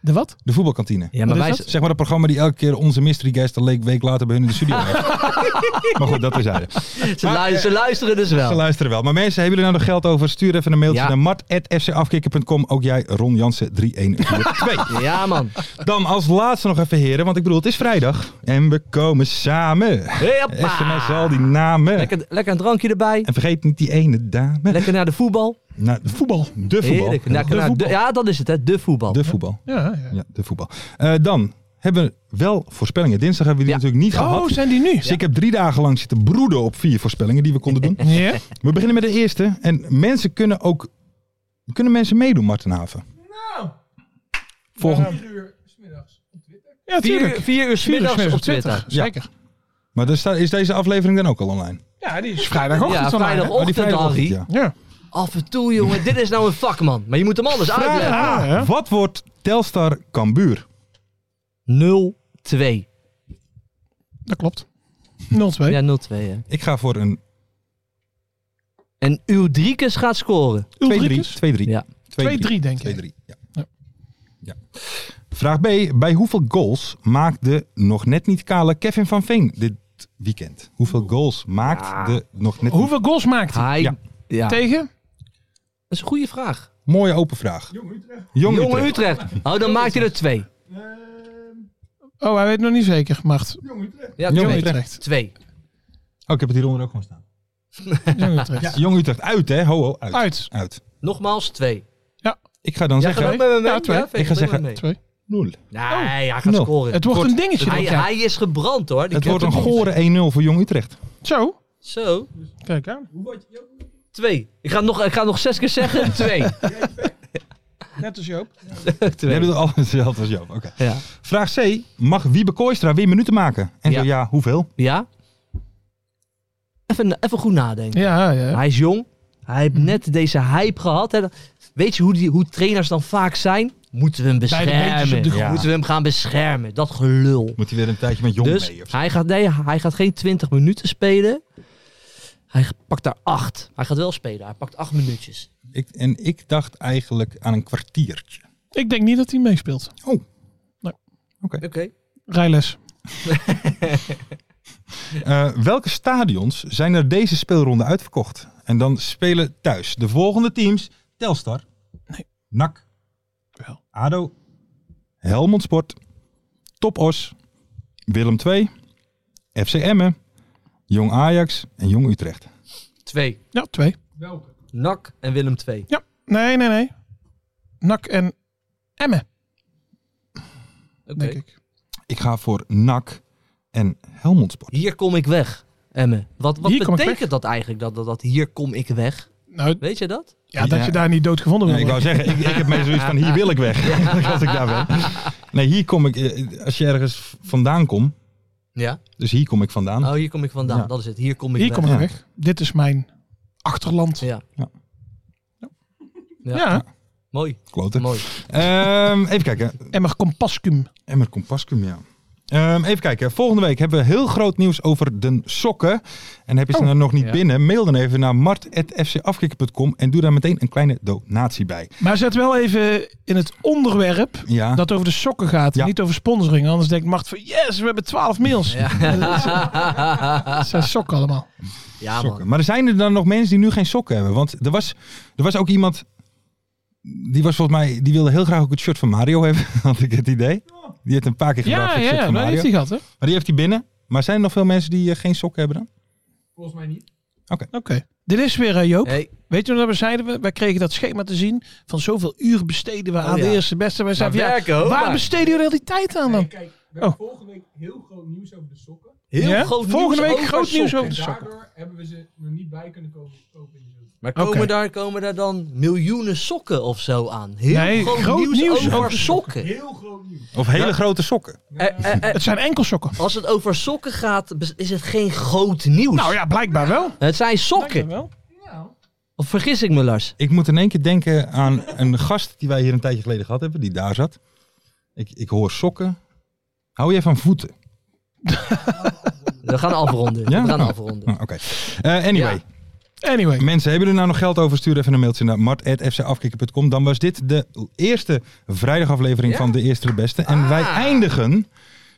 De wat?
De voetbalkantine.
Ja, maar
Wat
wij
is
z-
Zeg maar dat programma die elke keer onze mystery guest een le- week later bij hun in de studio
(laughs)
heeft. maar goed, dat terzijde.
ze, lui- ze luisteren dus
Ze
wel.
luisteren wel. Maar mensen, hebben jullie nou nog geld over? Stuur even een mailtje
Ja.
naar mart.fcafkikker.com. Ook jij, Ron Jansen,
(laughs)
3142.
Ja, man.
Dan als laatste nog even heren, want ik bedoel, het is vrijdag. En we komen samen.
Hoppa.
SMS al die namen.
Lekker, lekker een drankje erbij.
En vergeet niet die ene dame.
Lekker naar de voetbal.
Nou, de voetbal. De voetbal.
Heerlijk. Lekker
de
naar de-
voetbal.
ja, dat is het, hè. De voetbal.
De voetbal.
Ja, ja.
Ja, de voetbal. Eh, dan hebben we wel voorspellingen. Dinsdag hebben we die
Ja.
natuurlijk niet gehad.
Oh, zijn die nu?
Dus ik heb drie dagen lang zitten broeden op vier voorspellingen die we konden
(laughs)
doen.
Ja.
We beginnen met de eerste. En mensen kunnen ook... Kunnen mensen meedoen, Marten Haven? Volgende.
Ja,
Vier,
tuurlijk.
uur- vier uur 's middags
Tuurlijk,
op Twitter.
Ja.
Zeker.
Maar daar staat- is deze aflevering dan ook al online?
Ja, die is vrijdagochtend
Ja,
online, hè?
Oh, die
vrijdagochtend,
vrijdagochtend,
Harry.
ja.
Ja.
Af en toe, jongen. Dit is nou een vak, man. Maar je moet hem alles uitleggen.
Ja, hè?
Wat wordt Telstar Cambuur?
0-2.
Dat klopt. 0-2.
Ja, 0-2, hè.
Ik ga voor een
En Udrikes gaat scoren.
2-3. 2-3.
Ulrikes?
2-3,
Ja.
2-3 denk ik.
ja.
Ja.
Ja. Vraag B. Bij hoeveel goals maakt de nog net niet kale Kevin van Veen dit weekend? Hoeveel goals maakt
Ah.
de nog net niet...
Hoeveel goals maakt hij?
Hij,
Ja.
ja. Dat
Tegen?
is een goede vraag.
Mooie open vraag. Jong Utrecht. Jong
Jonge
Utrecht.
Utrecht. Oh, dan maakt hij er twee.
Oh, hij weet nog niet zeker, Mart.
Ja,
Jong
twee.
Utrecht.
Twee.
Oh, ik heb het hieronder ook gewoon staan.
Jong Utrecht.
Ja, Jong Utrecht. Uit hè? Ho, ho, uit.
Uit.
Uit.
Nogmaals twee.
Ik ga dan
Jij gaat
zeggen...
ook met me mee?
Ja, twee.
Ja, Veeg,
Ik ga
doe
zeggen
maar mee.
Twee. Oh.
Nul.
Nee, hij gaat
nul.
scoren.
Het wordt een dingetje.
hij,
dit jaar.
hij is gebrand hoor. Die
Het wordt een
kapot.
gore 1-0 voor Jong Utrecht.
Zo.
Zo,
Kijk aan.
twee. Ik ga het nog, ik ga het nog zes keer zeggen. Twee.
Net als
(laughs)
Joop.
We
twee.
hebben het al hetzelfde als Joop. Oké.
Ja.
Vraag C. Mag Wiebe Kooistra weer minuten maken? En
Ja.
zo ja, hoeveel?
ja? Even, even goed nadenken.
Ja, ja.
Hij is jong. Hij
Mhm.
heeft net deze hype gehad. Hè. Weet je hoe, die, hoe trainers dan vaak zijn? Moeten we hem
de beentjes op
beschermen?
de
grond.
Moeten we hem gaan beschermen? Dat gelul.
Moet hij weer een tijdje met Jong
Dus
mee? Of zo?
hij gaat, nee, hij gaat geen 20 minuten spelen. Hij pakt daar 8. Hij gaat wel spelen. Hij pakt 8 minuutjes.
Ik, en ik dacht eigenlijk aan een kwartiertje.
Ik denk niet dat hij meespeelt.
Oké.
Rijles.
Eh, welke stadions zijn er deze speelronde uitverkocht? En dan spelen thuis de volgende teams. Telstar. NAC.
Wel.
ADO. Helmond Sport. Topos. Willem II. FC Emmen. Jong Ajax en Jong Utrecht.
2.
Ja, twee.
Nak en Willem 2.
Ja. Nee, nee, nee. Nak en Emmen,
Oké.
denk ik.
Ik ga voor NAC en Helmond Sport.
Hier kom ik weg, Emme. Wat, wat
Hier kom ik
betekent dat eigenlijk? Dat, dat, dat hier kom ik weg?
Nou,
Weet je dat?
ja, dat
Ja.
je daar niet doodgevonden
Nee,
wordt.
ik wou zeggen, ik, ik heb mij zoiets van, hier wil ik weg. (laughs) als ik daar ben. Nee, hier kom ik, eh, als je ergens vandaan komt,
Ja.
dus hier kom ik vandaan.
Oh, hier kom ik vandaan.
Ja.
Dat is het. Hier kom ik
Hier
weg.
kom ik
Ja.
weg. Dit is mijn achterland.
Ja.
Ja.
Ja.
Ja,
Mooi.
Kloten. (laughs)
Mooi.
Ehm, even kijken.
Emmer Compascum.
Emmer Compascum, ja. Ehm, even kijken. Volgende week hebben we heel groot nieuws over de sokken. En heb je ze
Oh.
nou nog niet
Ja.
binnen? Mail dan even naar mart.fcafkikker.com en doe daar meteen een kleine donatie bij.
Maar zet wel even in het onderwerp
Ja.
dat over de sokken gaat. en
Ja.
Niet over sponsoring. Anders denkt Mart van, yes, we hebben 12 mails. (laughs)
Ja,
Dat zijn sokken allemaal.
ja
sokken.
man.
Maar er zijn er dan nog mensen die nu geen sokken hebben? Want er was, er was ook iemand. Die was volgens mij, die wilde heel graag ook het shirt van Mario hebben, (laughs) had ik het idee. Die heeft een paar keer gevraagd
Ja,
voor het
ja,
shirt
ja. nou,
van
Dat
Mario.
heeft hij gehad, hè? Oké.
Maar die heeft hij binnen. Maar zijn er nog veel mensen die eh, geen sokken hebben dan?
Dit is weer eh, Joop.
Hey,
Weet je wat we zeiden? We, wij kregen dat schema te zien van zoveel uur besteden we
Oh,
aan de
ja.
eerste beste. Wij
maar
zeiden, van, ja,
werken hoor.
waar
maar.
besteden jullie al die tijd aan dan?
Kijk, we
Oh.
hebben volgende week heel groot nieuws over de sokken.
Heel
Ja?
groot
Volgende
nieuws
week groot
over
nieuws
sokken.
over de sokken.
Daardoor hebben we ze nog niet bij kunnen kopen, kopen in de zomer.
Maar komen,
Oké.
daar, komen daar dan miljoenen sokken of zo aan? Heel
Nee,
groot,
groot
nieuws,
nieuws over
over sokken.
Heel groot nieuws.
Of hele grote sokken?
Eh, eh, eh,
Het zijn enkel sokken.
Als het over sokken gaat, bes- is het geen groot nieuws.
Nou ja, blijkbaar wel.
Het zijn sokken.
Dankjewel.
Of vergis ik me, Lars?
Ik moet in één keer denken aan een gast die wij hier een tijdje geleden gehad hebben, die daar zat. Ik, ik hoor sokken. Hou jij van voeten?
We gaan afronden.
Ja?
We gaan
Oh.
afronden.
Ah, Oké. Eh, anyway,
Ja.
Anyway.
mensen, hebben er nou nog geld over? Stuur even een mailtje naar mart.fcafkikker.com. Dan was dit de eerste vrijdagaflevering
Ja?
van De Eerste de Beste. En wij
Ah.
eindigen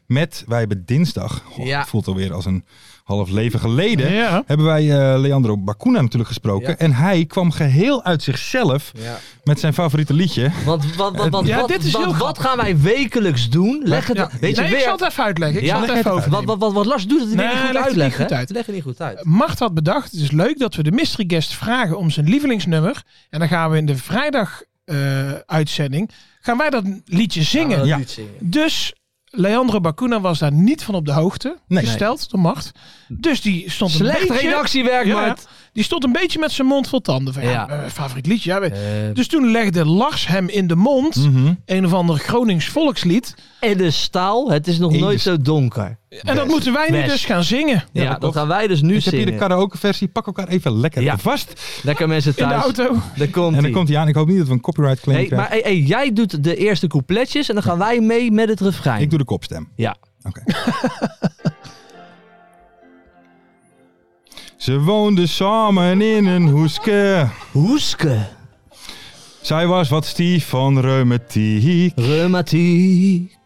met, wij hebben dinsdag, goh,
Ja.
het voelt alweer als een half leven geleden,
Ja.
hebben wij eh, Leandro Bacuna natuurlijk gesproken.
Ja.
En hij kwam geheel uit zichzelf
Ja.
met zijn favoriete liedje.
Want, want, want, want
Ja,
wat,
dit is
want
heel
wat gaan wij wekelijks doen? Leg het,
Ja.
weet je,
nee,
weer,
ik zal het even uitleggen. Ik
Ja,
zal het
leg
even over.
wat, wat, wat, wat Lars doet het weer
Nee,
niet goed
legt het niet
uitleggen.
goed
hè?
uit.
Leg het niet goed uit.
Mart had bedacht, het is leuk dat we de mystery guest vragen om zijn lievelingsnummer. En dan gaan we in de vrijdag eh, uitzending, gaan wij dat liedje zingen.
Gaan we dat
Ja.
niet zingen.
Dus Leandro Bacuna was daar niet van op de hoogte
Nee.
gesteld door Mart. Dus die stond een
Slecht
beetje...
redactiewerk,
Ja,
Mart.
Die stond een beetje met zijn mond vol tanden. Van, ja.
Ja.
eh, favoriet liedje. Ja.
Eh,
Dus toen legde Lars hem in de mond
Mhm.
een of ander Gronings volkslied.
en de staal, het is nog
In de
nooit zo donker.
En dat moeten wij nu
Best.
dus gaan zingen.
Ja,
dat
dat,
klopt.
gaan wij dus nu
ik heb hier de
zingen.
karaokeversie. Pak elkaar even lekker
Ja.
vast.
Lekker mensen
In de
thuis.
auto.
Daar komt
En dan komt hij aan. Ik hoop niet dat we een copyright claim
Nee,
krijgen.
maar hey, hey, jij doet de eerste coupletjes en dan gaan wij mee met het refrein.
Ik doe de kopstem.
Ja.
Oké. (laughs) Ze woonden samen in een hoeske.
Hoeske.
Zij was wat stief van reumatiek.
Reumatiek.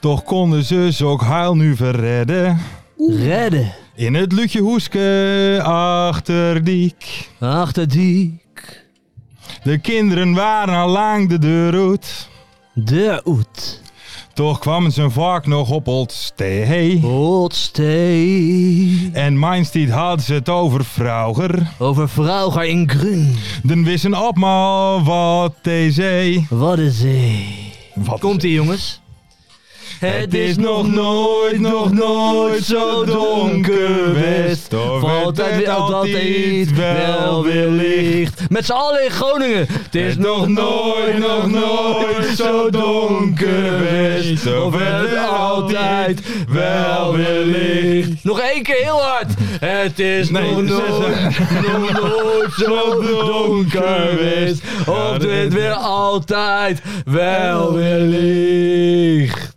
Toch konden ze ze ook huil nu verredden.
Redden.
In het lutje hoeske achter diek.
Achter diek.
De kinderen waren al lang de deur uit.
De oet.
Toch kwamen ze vaak nog op Oldstee.
Hotstee.
En Mindsteed had ze het over vrouwer.
Over Vrouwger in Grun.
Dan wisten op maar wat hij zei.
Wat een zee.
Wat
Komt ie jongens.
Het is nog nooit, nog nooit zo donker geweest. Toch
Valt
werd
uit
het
weer op dat
altijd
eet
wel weer licht.
Met z'n allen in Groningen. Het
Het is nog nooit, nog nooit zo donker geweest. Toch werd het altijd wel weer licht.
Nog één keer heel hard. Het is
Nee,
nog
zes,
nooit, nog
(laughs)
nooit zo donker geweest.
Ja,
Of
dat
dit
is-
weer altijd wel weer licht.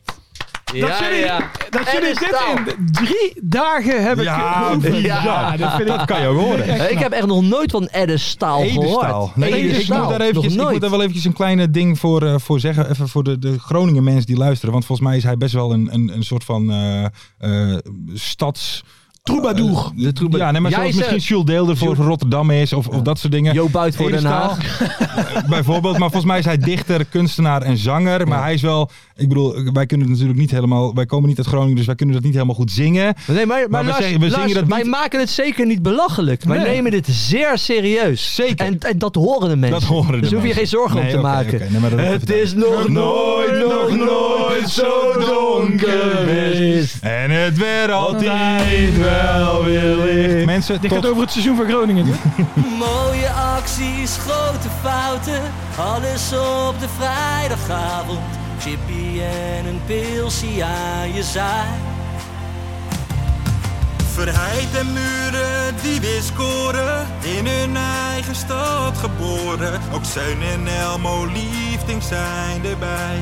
Dat
ja,
jullie,
ja.
dat
En
jullie
is
dit
taal.
in drie dagen hebben
(laughs) Ja,
geoefend.
ja.
dat vind ik
Dat kan je ook
(laughs)
horen.
echt
Ik heb echt nog nooit van Eddestaal
Edestaal.
gehoord.
Nee, ik- ik,
Eddestaal.
moet daar eventjes, ik
nog
moet
nooit.
daar wel eventjes een kleine ding voor, eh, voor zeggen. Even voor de, de Groningen mensen die luisteren. Want volgens mij is hij best wel een, een, een soort van eh, eh, stads... eh,
troubadour.
de troubadour. Ja, nee, maar
Jij
zoals
is,
misschien
eh,
Jules Deelder voor Rotterdam is of, of dat soort dingen.
Jo Buit voor Den
Edestaal,
Haag.
(laughs) Eh, bijvoorbeeld. Maar volgens mij is hij dichter, kunstenaar en zanger. Maar hij is wel... Ik bedoel, wij kunnen het natuurlijk niet helemaal... Wij komen niet uit Groningen, dus wij kunnen dat niet helemaal goed zingen.
Nee, maar, maar,
Maar we
Lars,
zeggen- we
Lars,
zingen dat
wij
niet-
maken het zeker niet belachelijk. Wij
Nee.
nemen dit zeer serieus.
Zeker.
En, en dat horen de mensen.
Dat horen de
dus hoef je
mensen.
geen zorgen om
Nee,
te
oké,
maken.
oké, nee, maar dat-
het is nog nooit, nog nooit zo donker geweest.
En het werd altijd wel weer licht. Mensen,
Dit
tot...
gaat over het seizoen van Groningen. dit.
Mooie acties, grote fouten, alles op de vrijdagavond. Chippy en een pilsie aan je zaai.
Verheid en muren die weer scoren, in hun eigen stad geboren. Ook Zijn en Elmo liefding zijn erbij.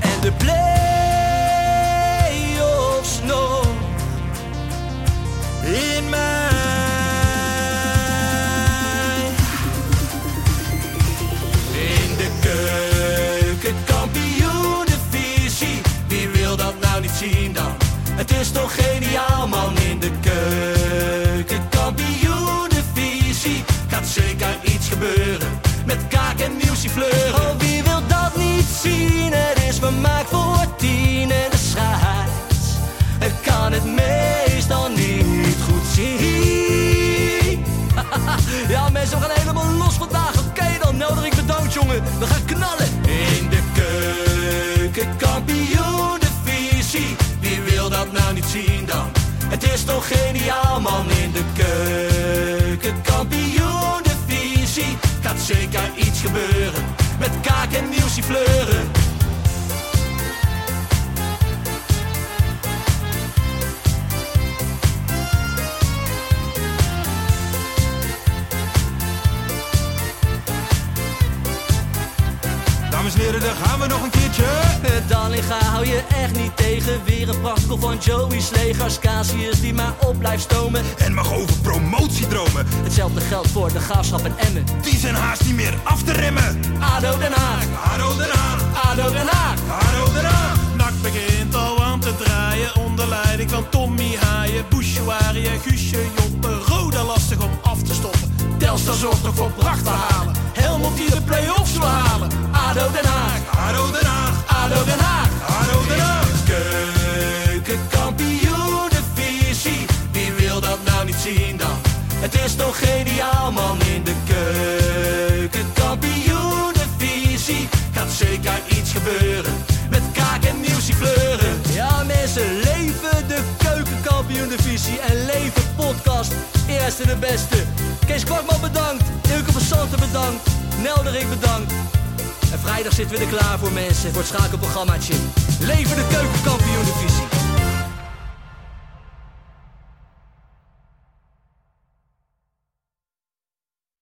En de play-offs nog.
In mij.
In de keuken, kampioenenvisie. Wie wil dat nou niet zien dan? Het is toch geniaal man in de keuken, kampioenenvisie. Gaat zeker iets gebeuren met kaak en nieuwsie fleuren. Oh, wie wil dat niet zien? Het is vermaakt voor tien en de scheids. Ik kan het meestal niet goed zien. Ja, mensen, we gaan helemaal los vandaag. Oké dan, Nelderik bedankt, jongen. We gaan knallen. In de keuken, kampioen, de visie. Wie wil dat nou niet zien dan? Het is toch geniaal, man. In de keuken, kampioen, de visie. Gaat zeker iets gebeuren. Met kaak en nieuwsie fleuren.
Dames en heren, daar gaan we nog een keertje.
Dallinga hou je echt niet tegen. Weer een prachtkel van Joey's legers. Casius die maar op blijft stomen.
En mag over promotiedromen,
Hetzelfde geldt voor de graafschap en Emmen.
die zijn haast niet meer af te remmen.
ADO Den Haag,
Haro eraan,
ADO Den Haag.
haro eraan.
Nak begint al aan te draaien onder leiding van Tommy Haaien, Bouchouari en Guusje Joppen. Roda lastig om af te stoppen. Telstar zorgt nog voor pracht te halen. Helmond die de play-offs wil halen.
ADO Den Haag,
Haro eraan,
ADO Den Haag.
haro eraan.
Keukenkampioenenvisie, wie wil dat nou niet zien dan? Het is toch geniaal man in de keukenkampioenenvisie. Gaat zeker iets gebeuren, met kaak en nieuwsie fleuren. Ja mensen, leven de keukenkampioenenvisie en leven podcast. Eerste de beste. Kees Kwakman bedankt, Ilke van Santen bedankt, Nelderik bedankt. En vrijdag zitten we er klaar voor mensen, voor het schakelprogrammaatje. Leven de keukenkampioen divisie.